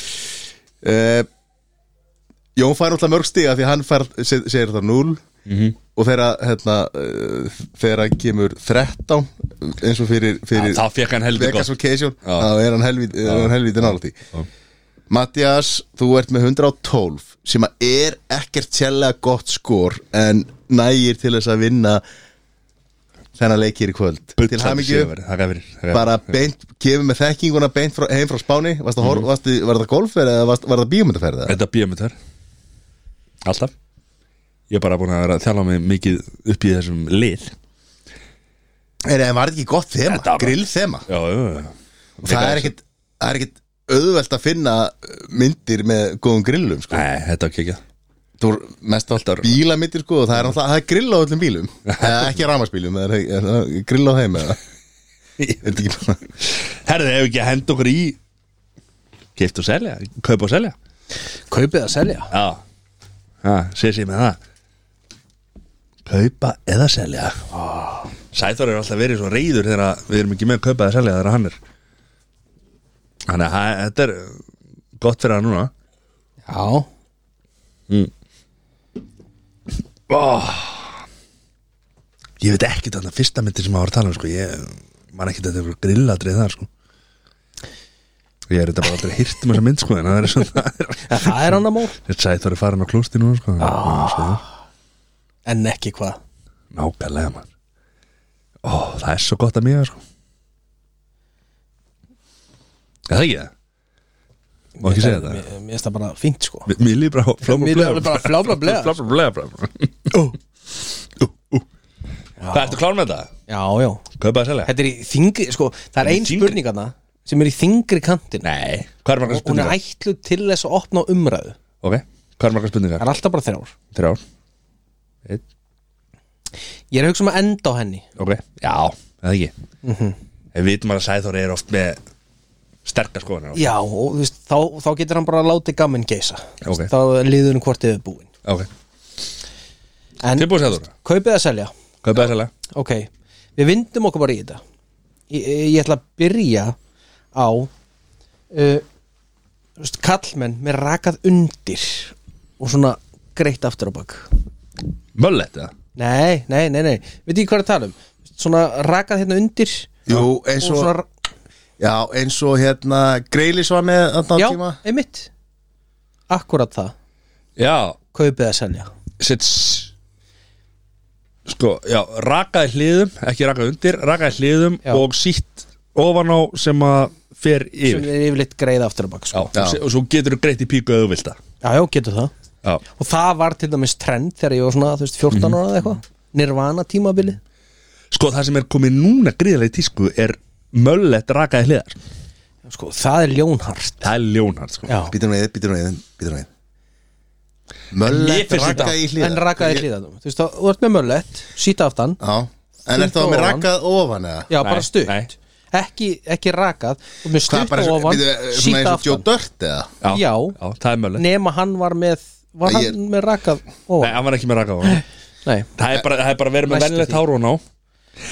S2: Eh, Jón fær alltaf mörg stiga því að hann fær, se- segir það 0 og þegar hérna, eh, þegar hann kemur 13 eins og fyrir, fyrir
S3: Þá fekk hann heldur
S2: Vegas
S3: gott
S2: Vacation
S3: Já.
S2: þá er hann helvítið helvíti, helvíti nálægt í
S3: Já.
S2: Mattias, þú ert með 112 sem að er ekkert sérlega gott skor en nægir til þess að vinna þennan leik hér í kvöld til hamingju,
S3: Það er verið
S2: bara beint gefið með þekkinguna beint frá, heim frá Spáni varst mm
S3: Mhm.
S2: -hmm. varst, var það golfverð eða varst, var það bíómyndaferð eða?
S3: Þetta býja með þar Alltaf Ég er bara búin að vera að þjálfa mig mikið upp í þessum lið
S2: er það var þetta ekki gott þema,
S3: Þetta var-
S2: grill þema
S3: Já, já, já
S2: það er ekkert það er ekkert auðvelt að finna myndir með góðum grillum sko.
S3: Nei, þetta
S2: *laughs*
S3: var ekki ekki
S2: Þú er mest alltaf bílamyndir sko og það er alltaf, það er grill á öllum bílum Eða ekki rámasbílum, það er, er, er grill á þeim eða Er þetta ekki bara
S3: Herðu, hefur ekki að henda okkur í Keift og selja, kaupa og selja
S1: Kaupið að selja
S3: Já ha, Sér sér með það Kaupa eða selja oh. Sæþór er alltaf verið svo reyður Þegar að við erum ekki með að kaupa eða selja Þegar hann er Þannig að ha- þetta er gott fyrir hann núna
S1: Já
S3: oh. Ég veit ekki þetta fyrsta myndi sem að var að tala um sko. Ég man ekki þetta eitthvað grilladrið þar sko. Ég er þetta bara aldrei hýrt um þessa mynd sko, en það er svona
S1: En það er hann að mól
S3: Þetta sæði það er farin á klósti nú sko. ah.
S1: En ekki hvað
S3: Nákvæmlega maður Ó, það er svo gott að mér sko. Er það ekki það? Má ekki segja það?
S1: Mér mér finnst það bara fínt sko
S3: Mér- Mér líður bara fláma
S1: Mér líður bara sko. fláma bleða.
S3: Fláma bleða Það ertu klár með þetta?
S1: Já, já
S3: Kaupa að selja?
S1: Þetta er í þingri, sko Það er
S3: Í
S1: ein
S3: þyngri?
S1: spurningarna sem er í þingri kantin
S3: Nei Hvað er
S1: Og
S3: margar
S1: hún er
S3: spurningar?
S1: ætluð til þess að opna á umræðu
S3: Ok, hvað er margar
S1: Það
S3: spurningar?
S1: er alltaf bara þrjár
S3: Þrjár Einn
S1: Ég er að hugsa um að enda á henni
S3: Ok, já, eða ekki mm
S1: Mhm.
S3: Við vitum að Sæþór er oft með sterkar skoðanir
S1: Já, og þú veist, þá, þá getur hann bara að láti gamin geisa
S3: Ok.
S1: Þá líður hann hvort yfir búin
S3: Ok,
S1: En
S3: tilbúið Sæþór
S1: kaupið að selja
S3: Kaupa að selja?
S1: Ok, við vindum okkur bara í þetta Ég, ég ég ætla að byrja á uh, þú veist, Kallmenn með rakað undir Og svona greitt aftur á bak
S3: Möllett, eða?
S1: Nei, nei, nei, nei Veit ekki hvað er að tala um Svona rakað hérna undir
S2: Jú, eins og,
S1: svona,
S2: já, eins og hérna Greilis var með þarna á
S1: Já,
S2: tíma
S1: einmitt Akkurat það,
S3: Já,
S1: kaupið að selja
S3: set s- sko, já, rakaði hliðum ekki rakaði undir, rakaði hliðum
S1: Já.
S3: og sítt ofan á sem að fer
S1: sem
S3: yfir
S1: er yfirleitt greið aftur á bak
S3: já,
S1: sko.
S3: já. og svo getur þú greitt í píku eða þú vilt það
S1: já, já, getur það
S3: já,
S1: og það var til dæmis trend þegar ég var svona þú veist, 14 ára eða eitthvað nirvana tímabili
S3: sko það sem er komið núna gríðlega í tísku er möllett rakaði hliðar
S1: sko, það er ljónhart
S3: það er ljónhart sko
S1: já.
S2: Býtum við, býtum við, býtum við Möllet
S3: finnst þetta-
S2: rakka í hlýða
S1: en rakaði hlýðanum þú veist, þá- þú ert með möllett, síta aftan
S2: Já, en er það
S1: Stutt
S2: með
S1: ofan.
S2: rakkað ofan eða?
S1: já,
S3: Nei,
S1: bara stutt
S3: nei.
S1: Ekki, ekki rakað, þú ert með
S2: Hvað
S1: stutt
S2: bara,
S1: á
S2: svo-
S1: ofan
S2: býtum við, svona
S1: síta
S2: eins og Joe
S1: aftan,
S2: Dirt eða?
S1: Já.
S3: það er möllett
S1: nema hann var með var
S2: Nei,
S1: hann
S2: ég-
S1: með rakað
S3: nei,
S1: ofan
S3: hann var ekki með rakaði ofan
S1: nei,
S3: það er bara, það er bara verið með
S1: Næstu
S3: venlegt
S1: því.
S3: hárun á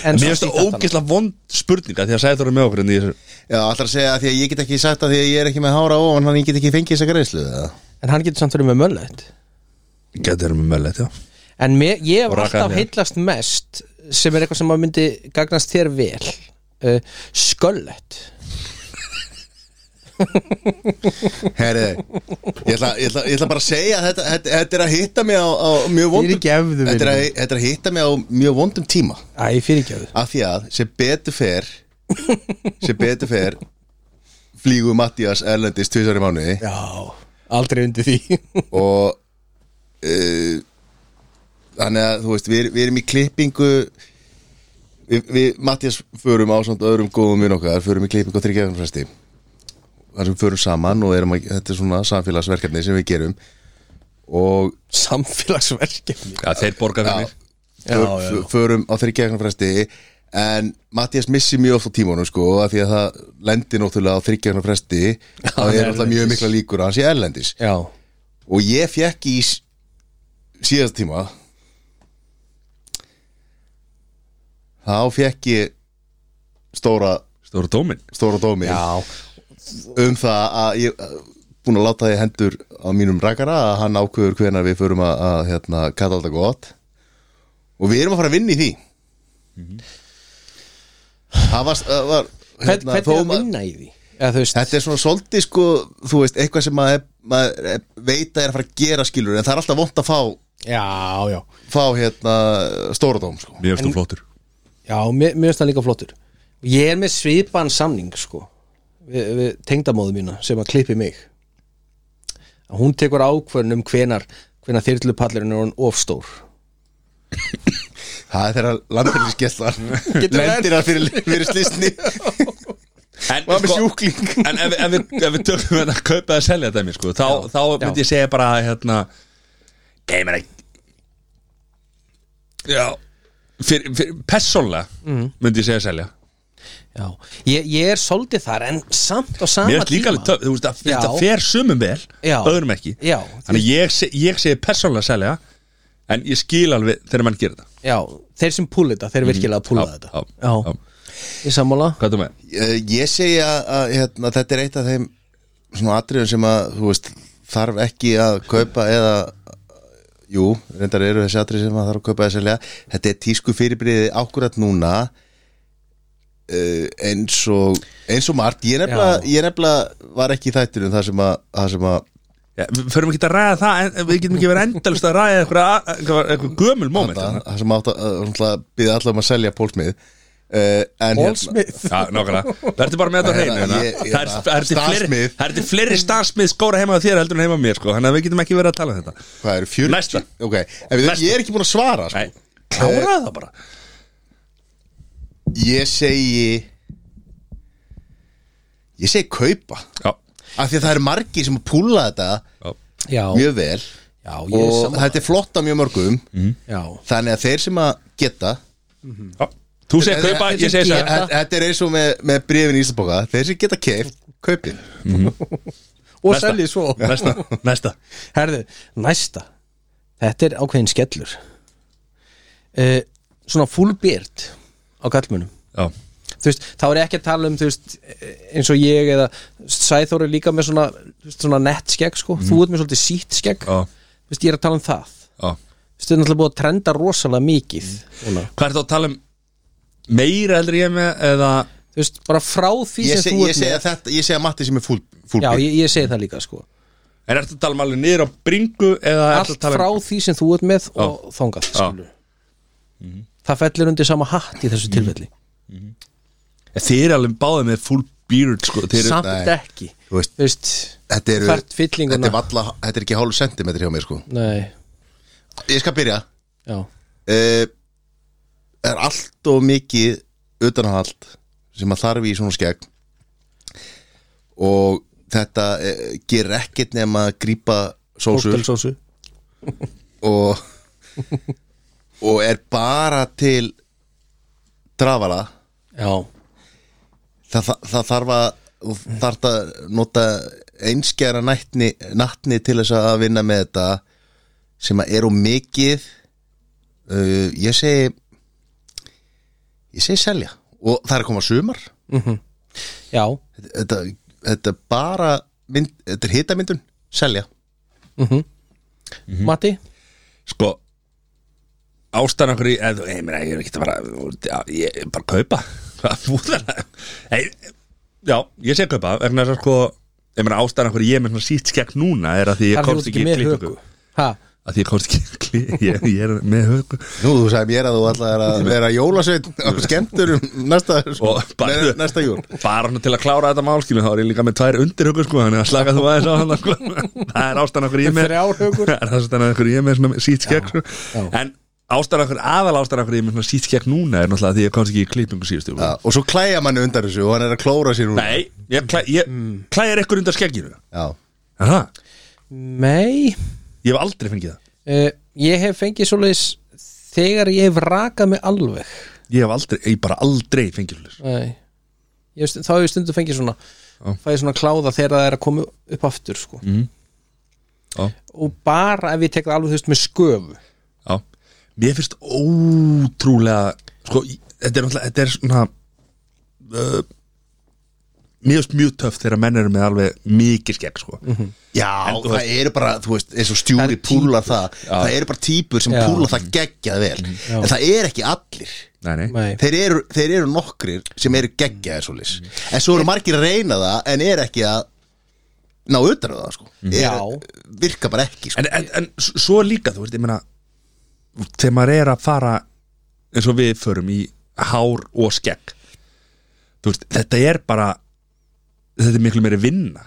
S1: en
S3: mér
S1: svo
S3: finnst
S1: síta
S3: það
S1: aftan
S3: ógislega vond spurninga því að segja þú eru með okkur en í þessu
S2: Já, alltaf að segja að því að ég get ekki sagt að því að ég er ekki með hára ofan Þannig ég get ekki fengið þessa greiðslu eða?
S1: en hann getur samt verið með möllett
S3: getur verið með möllett, já
S1: En mér, ég hef
S3: Og rakaði
S1: alltaf
S3: þér.
S1: heitlast mest sem er eitthvað sem að myndi gagnast þér vel uh, Sköllett
S2: Herri, ég ætla, ég, ætla, ég ætla bara að segja að þetta, þetta, þetta er að hitta mig á, á mjög vondum
S1: Fyrirgefðu, vinur
S2: þetta, er að,
S1: minn.
S2: þetta er að hitta mig á mjög vondum tíma
S1: Æ, fyrirgjöðu
S2: Af því að sem betur fer sem betur fer flýgu Mattias Erlendis tvisar í mánuði
S1: Já, aldrei undir
S2: *laughs*
S1: því
S2: og uh, þannig að þú veist við, við erum í klippingu við, við Mattias förum á samt öðrum góðum vinn okkar, förum í klippingu á þryggjafnfresti þar sem við förum saman og erum að, þetta er svona samfélagsverkefni sem við gerum og
S1: Samfélagsverkefni
S3: já, þeir borga fyrir mig
S1: Já,
S2: för-
S1: já.
S2: för- förum á þryggjafnfresti en Mattias missi mjög oft á tímanum sko af því að það lendir náttúrulega á þryggjafnfresti það er náttúrulega mjög mikla líkur að hann sé erlendis
S1: Já,
S2: og ég fekk í s- síðast tíma þá fekk ég stóra,
S3: stóru dómin
S2: stóra dómi
S1: já
S2: um það að ég búin að láta því hendur á mínum rakara að hann ákveður hvenar við förum að, að hérna, kalla alltaf gott og við erum að fara að vinna í því það var, það var hérna,
S1: Hvern, Hvernig
S2: þó
S1: er að
S2: ma-
S1: vinna í því? Eða, þú veist,
S2: Þetta er svona svolítið sko, þú veist, eitthvað sem maður, maður er- veit að er að fara að gera skilur en það er alltaf vont að fá,
S1: Já, já
S2: fá hérna stóra dóm sko.
S3: Mér finnst þú flottur
S1: Já, mér mér finnst það líka flottur Ég er með svipan samning sko við, við tengdamóðu mína sem að klippi mig Hún tekur ákvörn um hvenar hvenar þyrlupallurinn er hún ofstór
S2: Það er þegar *laughs* landfélagsgesslar lendir það fyrir, fyrir slisni
S3: En, sko,
S2: Maður með sjúkling.
S3: en ef, ef, við, ef við tökum þetta kaupa að selja dæmi sko, þá, þá myndi ég segja bara hérna Geimar ekki Já Fyr, fyr, Persónlega
S1: Mm.
S3: myndi ég segja að selja
S1: Já, ég, ég er soldið þar en samt og sama
S3: Mér finnst líka alveg töf, þú veist að
S1: Já.
S3: þetta fer sumum vel,
S1: Já.
S3: öðrum ekki
S1: Já.
S3: Þannig að ég, se- ég segi persónlega að selja En ég skil alveg þegar mann gerir þetta
S1: Já, þeir sem púla þetta, þeir virkilega púla þetta
S3: Mm. já, já.
S1: í sammála
S3: Hvað þú með?
S2: Eh, Ég segi að, að hérna, þetta er eitt af þeim svona atriðum sem að, þú veist, þarf ekki að kaupa eða jú, reyndar eru þessi atrið sem maður þarf að kaupa að selja þetta er tísku fyrirbriði ákkurat núna uh, eins og eins og margt, ég nefnilega,
S1: Já.
S2: ég nefnilega var ekki í þættunum þar sem að, það sem að
S3: ja, Við förum ekki að ræða það en, Við getum ekki verið endalist að ræða eitthvað, eitthvað, eitthvað gömul moment
S2: það, það sem átt að, að byggja allar um að selja pólsmið uh, en hérna,
S1: Paul Smith
S3: Já, nákvæmlega, verður bara með þetta á hreinu
S2: Ég-
S3: hérna.
S2: ég-
S3: Það er- það er til fleiri-
S2: Stansmið.
S3: það er til fleiri stansmið skóra heima á þér heldur en heima á mér sko, þannig að við getum ekki verið að tala um þetta
S2: hvað eru, 40?
S3: Næsta.
S2: Ok, en við,
S3: Næsta.
S2: ég er ekki búin að svara sko.
S3: Nei, kláraðu það bara
S2: ég segi ég segi kaupa
S3: Já,
S2: af því að það eru margir sem að púla þetta
S3: já,
S1: Já,
S2: mjög vel
S1: já ég er Mm.
S2: og
S1: saman
S2: þetta er flott af mjög mörgum
S1: Já,
S2: þannig að þeir sem að geta
S3: já Þú segir kaupa, ég
S2: Þetta-
S3: segi segja
S2: þetta- þetta er eins og með, með brefin í Íslandboka þeir sem geta keift, kaupin
S1: og
S3: Næsta.
S1: seljið svo
S3: Næsta, næsta
S1: Herðu, næsta Þetta er ákveðin skellur uh, Svona full beard á kallmönum
S3: Já,
S1: þú veist, þá er ég ekki að tala um þú veist, eins og ég eða Sæþór er líka með svona, þú veist, svona nett skegg sko, þú ert með svolítið sítt skegg
S3: Mhm. já,
S1: Þú veist, ég er að tala um það Þú
S3: já
S1: veist, þetta er náttúrulega búið að trenda rosalega mikið núna.
S3: Hvað er þá að tala um meira heldur ég með eða
S1: þú veist, bara frá því
S2: ég
S1: sem
S2: segi
S1: þú
S2: ég
S1: ert
S2: segi
S1: með
S2: að þetta, ég segi að Matti sem er fúl,
S1: Já,
S2: fúlbíl
S1: ég, ég segi það líka sko
S3: En ertu að tala um alveg niður á bringu eða ertu
S1: Allt
S3: að tala
S1: frá
S3: um
S1: því sem þú ert með og þangað skilur. Það fellur undir sama hatt í
S3: Mhm.
S1: þessu tilfelli
S3: Þið eru alveg báðið með full beard sko Þið eru
S1: Samt
S2: nei.
S1: ekki
S2: Þú veist,
S1: Þú veist,
S2: þetta, eru,
S1: Hvert fyllinguna?
S2: þetta, er valla, þetta er ekki hálf sentimetri hjá mér sko
S1: nei
S2: ég skal byrja
S1: Já,
S2: uh, er allt og mikið utanhald sem að þarf í svona skegg og þetta uh, gerir ekkert nema að grípa sósur
S1: hóttelsósu
S2: og, og er bara til drafala
S1: Já,
S2: það, það, það þarf að þú þarft að nota einskjara nætni, natni til þess að vinna með þetta sem að er og mikið uh, ég segi ég segi selja og það er að koma sumar
S1: Mhm. já,
S2: þetta, þetta er bara mynd, þetta er hitamyndun, selja
S1: Mhm.
S3: Mhm.
S1: Matti
S3: sko ástæðan okkur í eð, ég, meina, ég er ekki að fara já, ég er bara að kaupa *laughs* Hvað fúðalega? Nei, já, ég sé kaupa vegna þess að sko ég meina ástæðan okkur ég er með svona sítt skekk núna er að því
S1: Þar
S3: ég
S1: þú ert
S3: komst
S1: ekki
S3: ekki í
S1: með
S3: klippingu
S1: höku Ha,
S3: að því ég komst ekki í klippingu *laughs* ég, ég er með höku
S2: Nú, þú sagði mér að þú ætlaðir *laughs* að vera jólasveit á skemmturum næsta, *laughs*
S3: Og bara-
S2: næsta jól
S3: sko. bara svona til að klára þetta málskilu þá er ég líka með tvær undir höku sko þannig að slaka þú aðeins á hann sko. *laughs* það er ástæðan okkur ég er með
S1: Þrjár hökur.
S3: *laughs* það er ástæðan okkur ég er með svona sítt skekk sko. en ástæðan okkur aðal ástæðan okkur ég er með svona sítt skekk núna er náttúrulega að því ég komst ekki í klippingu síðustu
S2: Já, og svo klæja manni undan þessu og hann er að klóra sér úr
S3: Nei, ég, klæ, ég klæjar ykkur undan skegginu
S2: Já,
S3: Aha,
S1: Nei
S3: Ég hef aldrei fengið það
S1: uh, Ég hef fengið svoleiðis þegar ég hef rakað mig alveg
S3: Ég hef aldrei, ég bara aldrei fengið hlulis
S1: Nei ég, hef stund- Þá hef ég stundu fengið svona fæ ég svona kláða þegar það er að koma upp aftur sko.
S3: Mhm. Já.
S1: Og bara ef ég tek það alveg þú veist með sköfu
S3: Já Mér finnst ótrúlega Sko, í- þetta er náttúrulega, þetta er svona uh, Mér finnst mjög töff þegar menn eru með alveg mikið skegg sko
S2: Já
S3: En þú
S2: það eru bara, þú veist, eins og stjúri púla það Það eru bara típur sem
S1: Já.
S2: púla það geggjað vel En það er ekki allir
S3: Nei, nei,
S1: Nei.
S2: þeir eru, þeir eru nokkrir sem eru geggjaðir svolis En svo eru margir að reyna það en er ekki að ná utan á það sko.
S1: Já.
S2: er, Virka bara ekki sko.
S3: En, en, en s- svo er líka, þú veist, ég meina Þegar maður er að fara eins og við förum í hár og skegg Þú veist, þetta er bara Þetta er miklu meiri vinna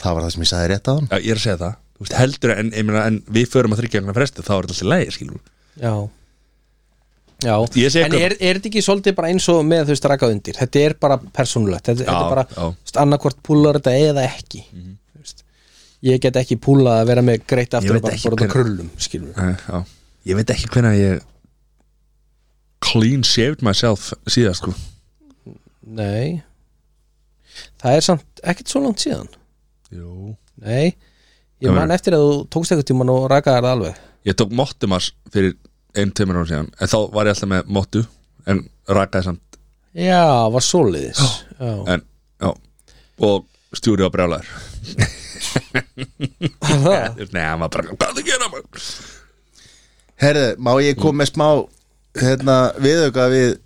S2: Það var það sem ég sagði rétt á hann
S3: Já, ég er að segja það Þú veist, heldur en, ég meina, en við förum að þryggja einhverja fresti þá er þetta alltaf lægi, skilur við.
S1: Já Já,
S3: Ég segi
S1: en
S3: eitthvað.
S1: er, er þetta ekki svolítið bara eins og með þú veist rakað undir Þetta er bara persónulegt Þetta, þetta er bara
S3: já. Mhm.
S1: þú veist, annarkvort púlar þetta eða ekki mm Ég get ekki púlað að vera með greitt aftur
S3: veit
S1: og bara
S3: ekki
S1: bara út á
S3: hver-
S1: krullum skilur við.
S3: Æ, Eh, Já, ég veit ekki hvernig að ég clean shaved myself síðast, sko
S1: Nei Það er samt ekkert svo langt síðan
S3: Jú
S1: Nei, ég
S3: Hvað
S1: man eftir að þú tókst eitthvað tíman og rakaðar það alveg
S3: Ég tók mottumars fyrir einn tveimur ára síðan en þá var ég alltaf með mottu en rakaði samt,
S1: Já,
S3: *gasps*
S1: var svoleiðis Já,
S3: en, já og stjúri á brjálæður
S1: Það
S3: Nei, hann var bara, hvað það gera maður?
S2: Herðu, má ég koma með smá hérna, viðauka við,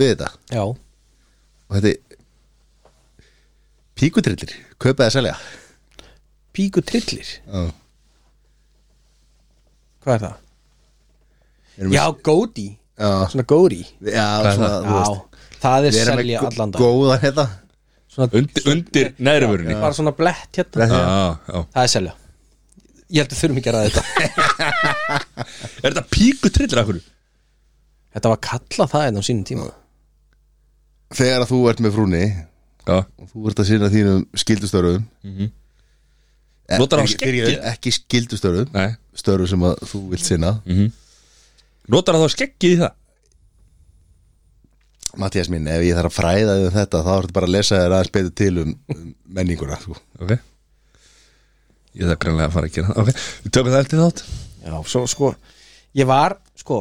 S2: við þetta
S1: *laughs* Já,
S2: og þetta er píkutrillir, kaupa eða selja
S1: píku trillir
S2: Já.
S1: Hvað er það?
S2: Erum við-
S1: Já, gódi
S2: Já,
S1: Svona gódi
S2: já svona, þú
S1: Já,
S2: veist
S1: það er
S2: Við erum
S1: selja
S2: með
S1: allan dag
S2: góða hérna
S1: Svona
S3: Undir, undir næri vörunni
S1: bara svona blett hérna
S3: Ah, Já, já
S1: Það er selja Ég held að þurfum ekki að ræða þetta
S3: Er þetta píku trillir af hverju?
S1: Þetta var kallað það enn á sínum tíma
S2: Þegar að þú ert með frúni
S3: Já
S2: og þú ert að sinna þínum skildustörfum Eh,
S3: Notar hann
S2: ekki- fyrirgefðu,
S3: skeggið?
S2: Ekki skildustörfum,
S3: Nei mhm.
S2: störfum sem að þú vilt sinna
S3: Notar það þá skeggið í það?
S2: Mattias minn, ef ég þarf að fræða þig um þetta þá ertu bara að lesa þér aðeins betur til um, um menninguna sko.
S3: Ok Ég þarf greinlega að fara að gera það Ok, við tökum það eftir þátt
S1: Já, svo sko Ég var, sko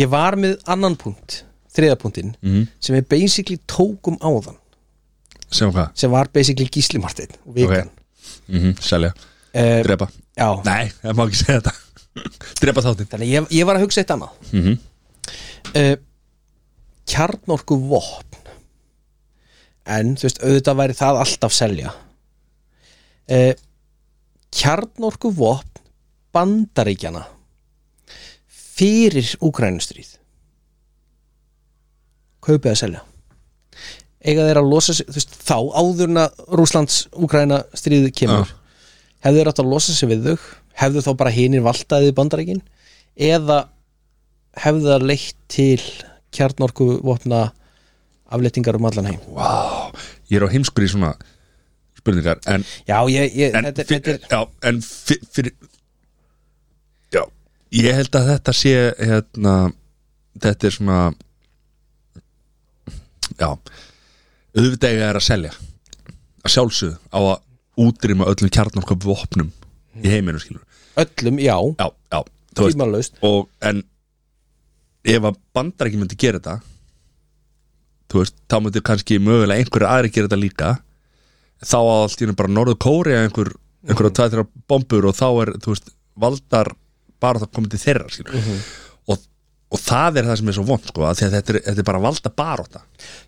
S1: Ég var með annan punkt, þriðapunktin mm. sem við basically tókum áðan
S3: Sjáum hvað
S1: sem var basically gíslimartin og vikan
S3: mm -hmm. Selja
S1: okay.
S3: Drepa
S1: Já,
S3: Nei, það má ekki segja þetta *laughs* Drepa þáttinn
S1: þannig ég, ég var að hugsa eitt annað mm -hmm. Kjarnorku vopn En, þú veist, auðvitað væri það alltaf selja uh, Kjarnorku vopn bandaríkjana fyrir Úkrænustríð Kaupið að selja Eiga þeir að losa sig, þú veist, þá áðurna Rússlands Úkræna stríð kemur hefðu þeir átt að losa sig við þau hefðu þá bara hinir valdaðið bandarækin eða hefðu það leitt til kjarnorku vopna afleitingar um allan heim
S3: Vá, ég er á heimskur í svona spurningar En,
S1: já, ég, ég,
S3: en,
S1: þetta,
S3: fyr,
S1: þetta er
S3: já, en fyr, fyrir Já Ég held að þetta sé hérna, Þetta er svona Já Auðvitað eiga er að selja Að sjálfsögðu á að útrýma öllum kjarnorköp vopnum í heiminum skilur
S1: öllum, já,
S3: Já, já, þú veist
S1: tímalaust
S3: og en ef að bandar ekki myndi gera þetta þú veist, þá myndi kannski mögulega einhverju aðri gera þetta líka þá á allt í henni bara Norður Kóri einhver, einhverju mm. tættir bombur og þá er, þú veist, valdar bara það komið til þeirra, skilur og, og það er það sem er svo vond sko, af því að þetta er, þetta er bara valda baróta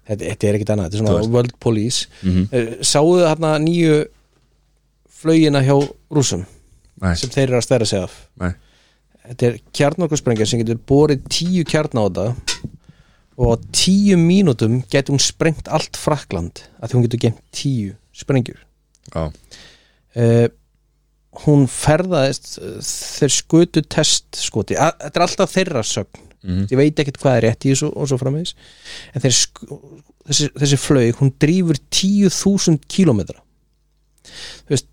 S1: þetta, þetta er ekkit annað, þetta er
S3: Þú
S1: svona
S3: veist. Mhm.
S1: world police mm -hmm. sáuðu þarna nýju flögina hjá rússum
S3: Nei,
S1: sem þeir eru að stæra sig af
S3: nei,
S1: þetta er kjarnorkusprengja sem getur borið tíu kjarn á þetta og á tíu mínútum getur hún sprengt allt Frakland að því hún getur gemt tíu sprengjur
S3: já,
S1: uh, hún ferðaðist eh, þeir skutu testskoti A- þetta er alltaf þeirra sögn ég veit ekkert hvað er rétt í þessu og svo framvegis en þeir, sk- þessi, þessi flög hún drýfur tíu þúsund kilometra þú veist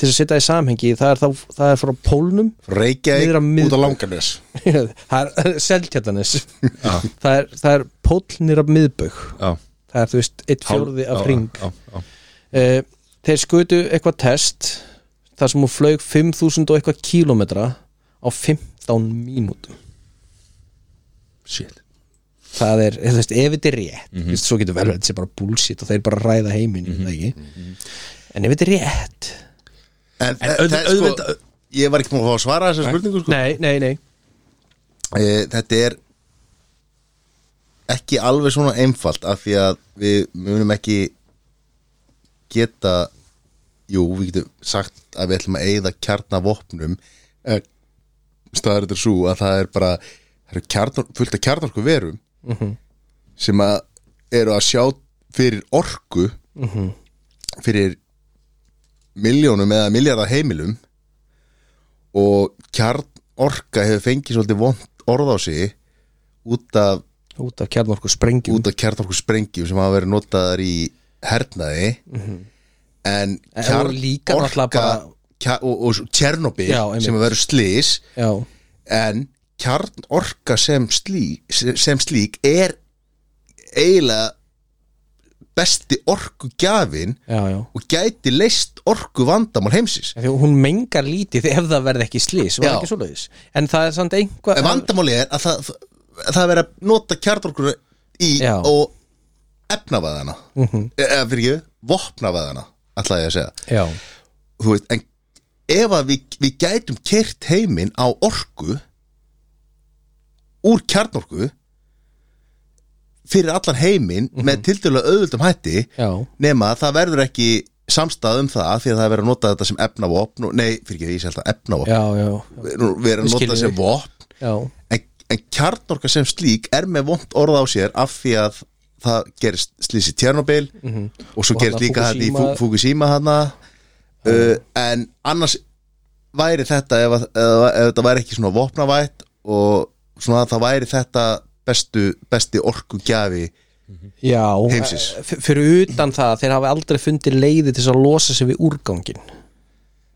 S1: til að setja í samhengi, það er, þá, það er frá pólnum *laughs* Niður á
S2: Reykjavík
S1: mið-
S2: út á langanes
S1: það er seltjartanis það er, það er pólnir af miðbaug
S3: já
S1: það er þú veist eitt fjórði af ring
S3: já, já,
S1: Eh, þeir skutu eitthvað test þar sem hún flög 5000 og eitthvað kílómetra á 15 mínútum
S3: shit
S1: það er, þú veist, ef þetta er rétt
S2: Mhm.
S1: mm veist, svo getur vel verið þetta sé bara bullshit og þeir bara ræða heiminn, mm ekki
S2: Mhm.
S1: en ef þetta er rétt
S2: En, en
S3: auð-
S2: það, sko,
S3: auðvitað-
S2: ég var ekki búin að fá að svara þessar spurningu sko.
S1: nei, nei, nei,
S2: e, Þetta er ekki alveg svona einfalt af því að við munum ekki geta jú, við getum sagt að við ætlum að eyða kjarnavopnum en staðar þetta er svo að það er bara það eru kjarnar, fullt af kjarnarku verum sem að eru að sjá fyrir orku fyrir miljónum eða miljardar heimilum og kjarnorka hefur fengið svolítið vond orð á sig út af,
S1: út af kjarnorku sprengjum
S2: út af kjarnorku sprengjum sem hafa verið notaðar í hernaði en
S1: En það voru Mhm. Eh, líka náttúrulega bara-
S2: kjar, og, og Tjernobyl
S1: Já, einmitt.
S2: sem að vera slís
S1: já,
S2: en kjarnorka sem, slí, sem slík er eiginlega besti orkugjafin
S1: já, já
S2: og gæti leist orku vandamál heimsins
S1: Af því að hún mengar lítið ef það verði ekki slís var
S2: Já.
S1: ekki svoleiðis, en það er samt einhvað
S2: En vandamáli er að það, það er verið að nota kjarnorkuna í
S1: Já. Mhm.
S2: og E, efnavæðana mm -hmm. eða fyrir ekki, vopnavæðana ætlaði ég að segja
S1: já,
S2: þú veist, en ef að við, við gætum kert heiminn á orku úr kjarnorku fyrir allan heiminn
S1: Mhm.
S2: með tildurlega auðvöldum hætti
S1: Já,
S2: nema að það verður ekki samstað um það því að það er verið að nota þetta sem efnavopn og, nei, fyrir ekki, ég sé alltaf efnavopn
S1: já, já,
S2: Nú, við erum
S1: Við
S2: að nota
S1: skiljum
S2: þetta sem
S1: þig.
S2: vopn
S1: já
S2: en, en kjarnorka sem slík er með vond orð á sér af því að það gerist slýs í Tjernobyl og svo
S1: Mhm. Og
S2: gerist
S1: hana
S2: líka þetta í Fu-
S1: Fukushima-
S2: Fukushima hana uh, en annars væri þetta ef, að, ef, ef þetta væri ekki svona vopnavætt og svona það væri þetta bestu, besti orkugjafi
S1: Já,
S2: Heimsins.
S1: eh, f- fyrir utan það þeir hafa aldrei fundið leiði til þess að losa sig við úrgangin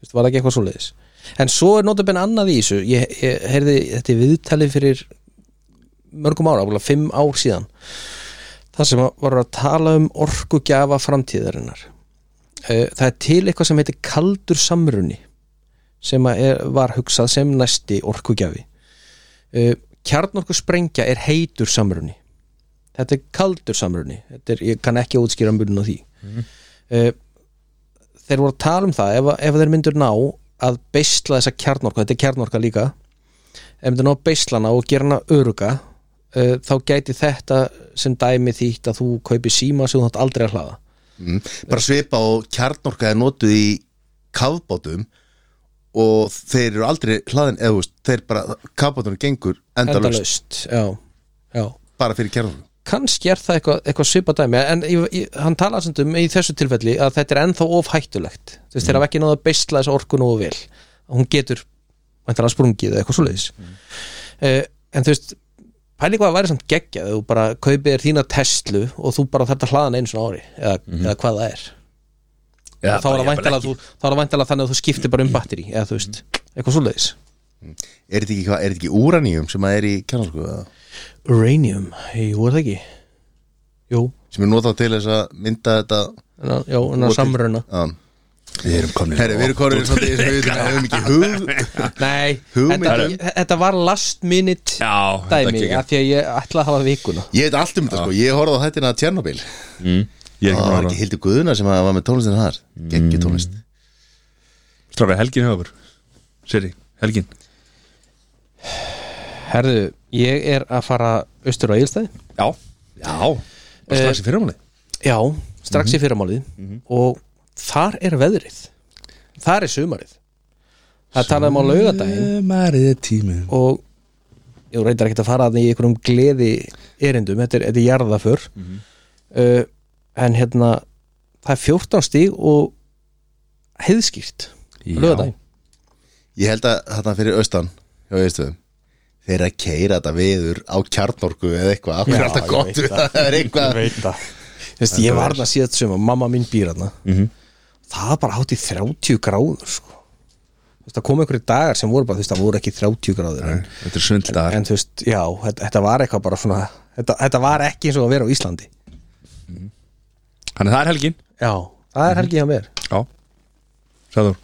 S1: Vistu, var það ekki eitthvað svoleiðis En svo er notabenn annað í þessu Ég, ég heyrði þetta í viðtali fyrir mörgum ára, ábúinlega fimm ár síðan Það sem var að tala um orkugjafa framtíðarinnar Eh, Það er til eitthvað sem heitir kaldur samruni sem að er, var hugsað sem næsti orkugjafi Kjarnorku sprengja er heitur samruni þetta er kaldur samrunni þetta er, ég kann ekki að útskýra mjögun á því mm. þeir voru að tala um það ef, að- ef þeir myndur ná að beisla þessa kjarnorka, þetta er kjarnorka líka ef myndur ná að beisla hana og gera hana öruga uh, þá gæti þetta sem dæmi þýtt að þú kaupi síma sem þú þátt aldrei að hlaða
S2: bara svipa og kjarnorka er notuð í kafbátum og þeir eru aldrei hlaðin eða þú veist, þeir bara, kafbátunum gengur endalaust
S1: endalaust já, já
S2: bara fyrir kjarnorku
S1: kannski er það eitthvað, eitthvað svipa dæmi en ég, ég, hann talaði samt um í þessu tilfelli að þetta er ennþá of hættulegt þú
S3: Mm.
S1: veist, þeir hafa ekki náða að beisla þessa orku nógu vel hún getur væntanlega sprungið eða eitthvað svoleiðis mm. en þú veist, pæli hvað að væri samt geggjað ef þú bara kaupið þér þína Tesla og þú bara þarft að hlaða hann einu svona ári eða, eða hvað það er
S3: Mhm. Já,
S1: og þá er
S3: bara
S1: það væntanlega
S3: jafnvel Mm.
S1: þú- þá er það væntanlega þannig að þú skiptir bara um batteri eða þú veist, eitthvað svoleiðis
S2: er þetta ekki, hvað- er þetta ekki úraníum sem að er í kjarnorku eða?
S1: Uranium, jú er það ekki Jú,
S2: sem er notað til þess að mynda þetta
S1: en að- já, en að samruna
S2: um,
S3: Við erum komin
S2: herri, við erum konur svona því sem við veitum að hefum ekki hug
S1: Nei,
S2: Hugmynd
S1: þetta,
S2: um-
S1: þetta var last minute
S3: Já, þetta er
S1: dæmi
S3: ekki
S1: af því að ég ætla að hafa vikuna
S2: ég veit allt um þetta sko, ég horfði á hættina að Tjernobyl
S3: Ég er
S2: það var
S3: ekki
S2: ekki Hildur Guðuna sem að var með tónlistina þar
S1: Mm.
S2: geggjur tónlist
S3: Stráka, helgin hefur Seri, helgin
S1: Herðu, ég er að fara austur á Egilstæði
S3: Já Já Bara strax í fyrirmáli
S1: Já, strax í fyrramálið og þar er veðrið þar er sumarið það talaðum á laugardaginn
S3: Marið er tímið
S1: og ég reyndar ekkert að fara þannig í einhverjum gleði erindum, þetta er, þetta er jarðaför uh, en hérna það er 14 stíg og heiðskýrt
S3: Já.
S1: laugardaginn
S2: ég held að þarna fyrir austan hjá veistuðum þeir eru að keira þetta viður á kjarnorku eða eitthvað, það er
S1: Já,
S2: alltaf
S1: ég
S2: gott
S1: veit
S2: við *laughs* það er eitthvað
S1: veit það Þess, ég var það síðan sem að mamma mín býr hana
S2: Mhm.
S1: það var bara hátt í 30 gráður sko. Þú veist, það kom einhverju dagar sem voru bara, þú veist, það voru ekki 30 gráður en,
S3: Þetta er svindlar
S1: en þú veist, já, þetta, þetta var eitthvað bara svona, þetta, þetta var ekki eins og að vera á Íslandi
S3: Þannig að það er helgin
S1: já, það er helgi hjá mér
S3: Já Sæður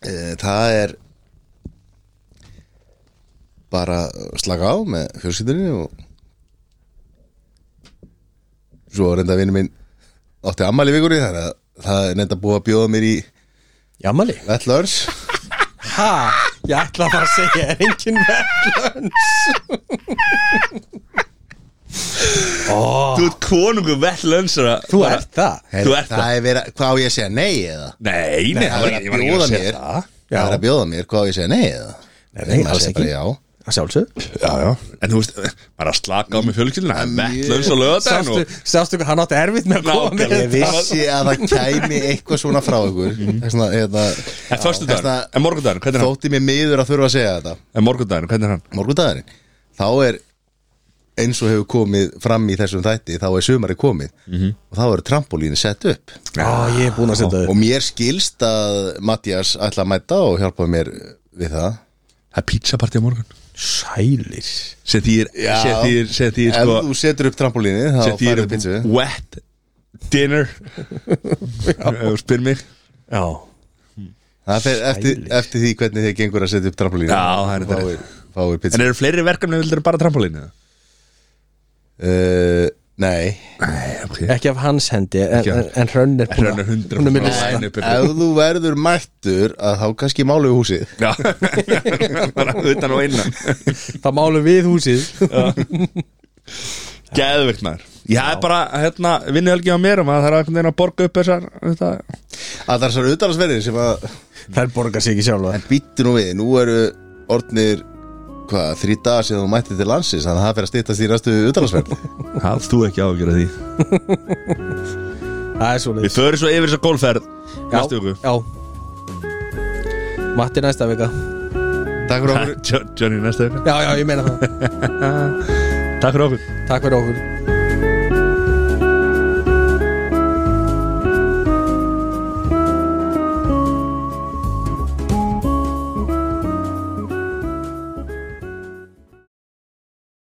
S2: Eh, það er bara slaka á með fjölskyldinni og svo reynda vinnu minn átti ammali vikur í þannig að það er reynda búið að bjóða mér í
S1: Jamali,
S2: vettlörs
S1: ha, ég ætla bara að segja er engin verðlöns
S3: Þú ert konungu vellunsara
S1: þú ert það
S2: Hey,
S3: Þú ert
S2: það er verið, hvað á ég að segja nei eða?
S3: Nei,
S2: það
S3: nei,
S2: er að
S3: ég var ekki
S2: bjóða
S3: segja
S2: mér
S3: það.
S2: Það er að bjóða mér, hvað á ég að segja nei eða?
S1: Nei, nei,
S2: maður
S1: alls
S2: segir
S1: ekki.
S2: bara já
S1: að sjálfsög
S3: Já, já En þú veist, eh, bara að slaka á með fjölskyldina Vettlöns og löðan
S1: sástu,
S3: og
S1: sástu hvað hann átti erfitt með að koma með
S3: Nákvæmlega.
S2: Ég vissi að það kæmi eitthvað svona frá ykkur Þessna, hérna,
S3: En Mhm. föstudagur,
S2: þessna-
S3: en morgundagur, hvernig er hann?
S2: Þótti mér miður að þurfa að segja þetta
S3: En morgundagur, hvernig er hann?
S2: morgundagurinn þá er eins og hefur komið fram í þessum þætti þá er sumari komið
S3: Mhm.
S2: og þá eru trampolínu sett upp
S1: Ó, ég er búin að setja það upp
S2: og mér skilst að Mattias ætla að mæta og hjálpa mér við það
S3: Það er pizzapartí á morgun
S1: Sælir
S3: Sem þýr, sem þýr, sem þýr
S2: ef
S3: sko
S2: þú setur upp trampolínu þá
S3: Sem
S2: færðu
S3: þýr
S2: pizzu
S3: wet dinner Ef þú spyr mig
S1: Já
S2: það fer eftir,
S1: Sælir.
S2: eftir því hvernig þið gengur að setja upp trampolínu
S3: Já, það er þetta.
S2: fáir, fáir pizzu
S3: En eru fleiri verkefni vildur bara trampolínu?
S2: uh, Nei,
S3: Nei,
S1: ekki af hans hendi en,
S3: Ekki
S1: en-
S3: af-
S1: en hrönn er
S3: Hrönn er
S1: hún
S3: 100%
S1: er
S3: Nei,
S1: minni
S3: nei,
S2: ef
S3: nei,
S2: þú verður mættur að þá kannski málu húsið
S3: *laughs* Já, bara utan og innan
S1: það málu við
S3: *laughs*
S1: húsið
S3: Geðvikt maður Já, Já. bara, hérna, vinnu helgi á mér og maður þarf einhvern veginn að borga upp þessar þetta.
S2: að það er svo utalansverðin sem að
S1: þær borgar sig ekki sjálfa
S2: en býttu nú við, nú eru orðnir hvað, þrý dagar síðan þú mætti til landsins þannig að það fer að stýttast í ræstu utalansverð
S3: Hafst þú ekki á að gera því
S1: það er svo
S3: Við förum svo yfir þessar golfferð næstu
S1: já,
S3: viku
S1: já Matti næsta vika
S2: Takk fyrir okkur
S3: Jo- Johnny, næstu viku
S1: já, já, ég meina það
S3: Takk fyrir okkur
S1: takk fyrir okkur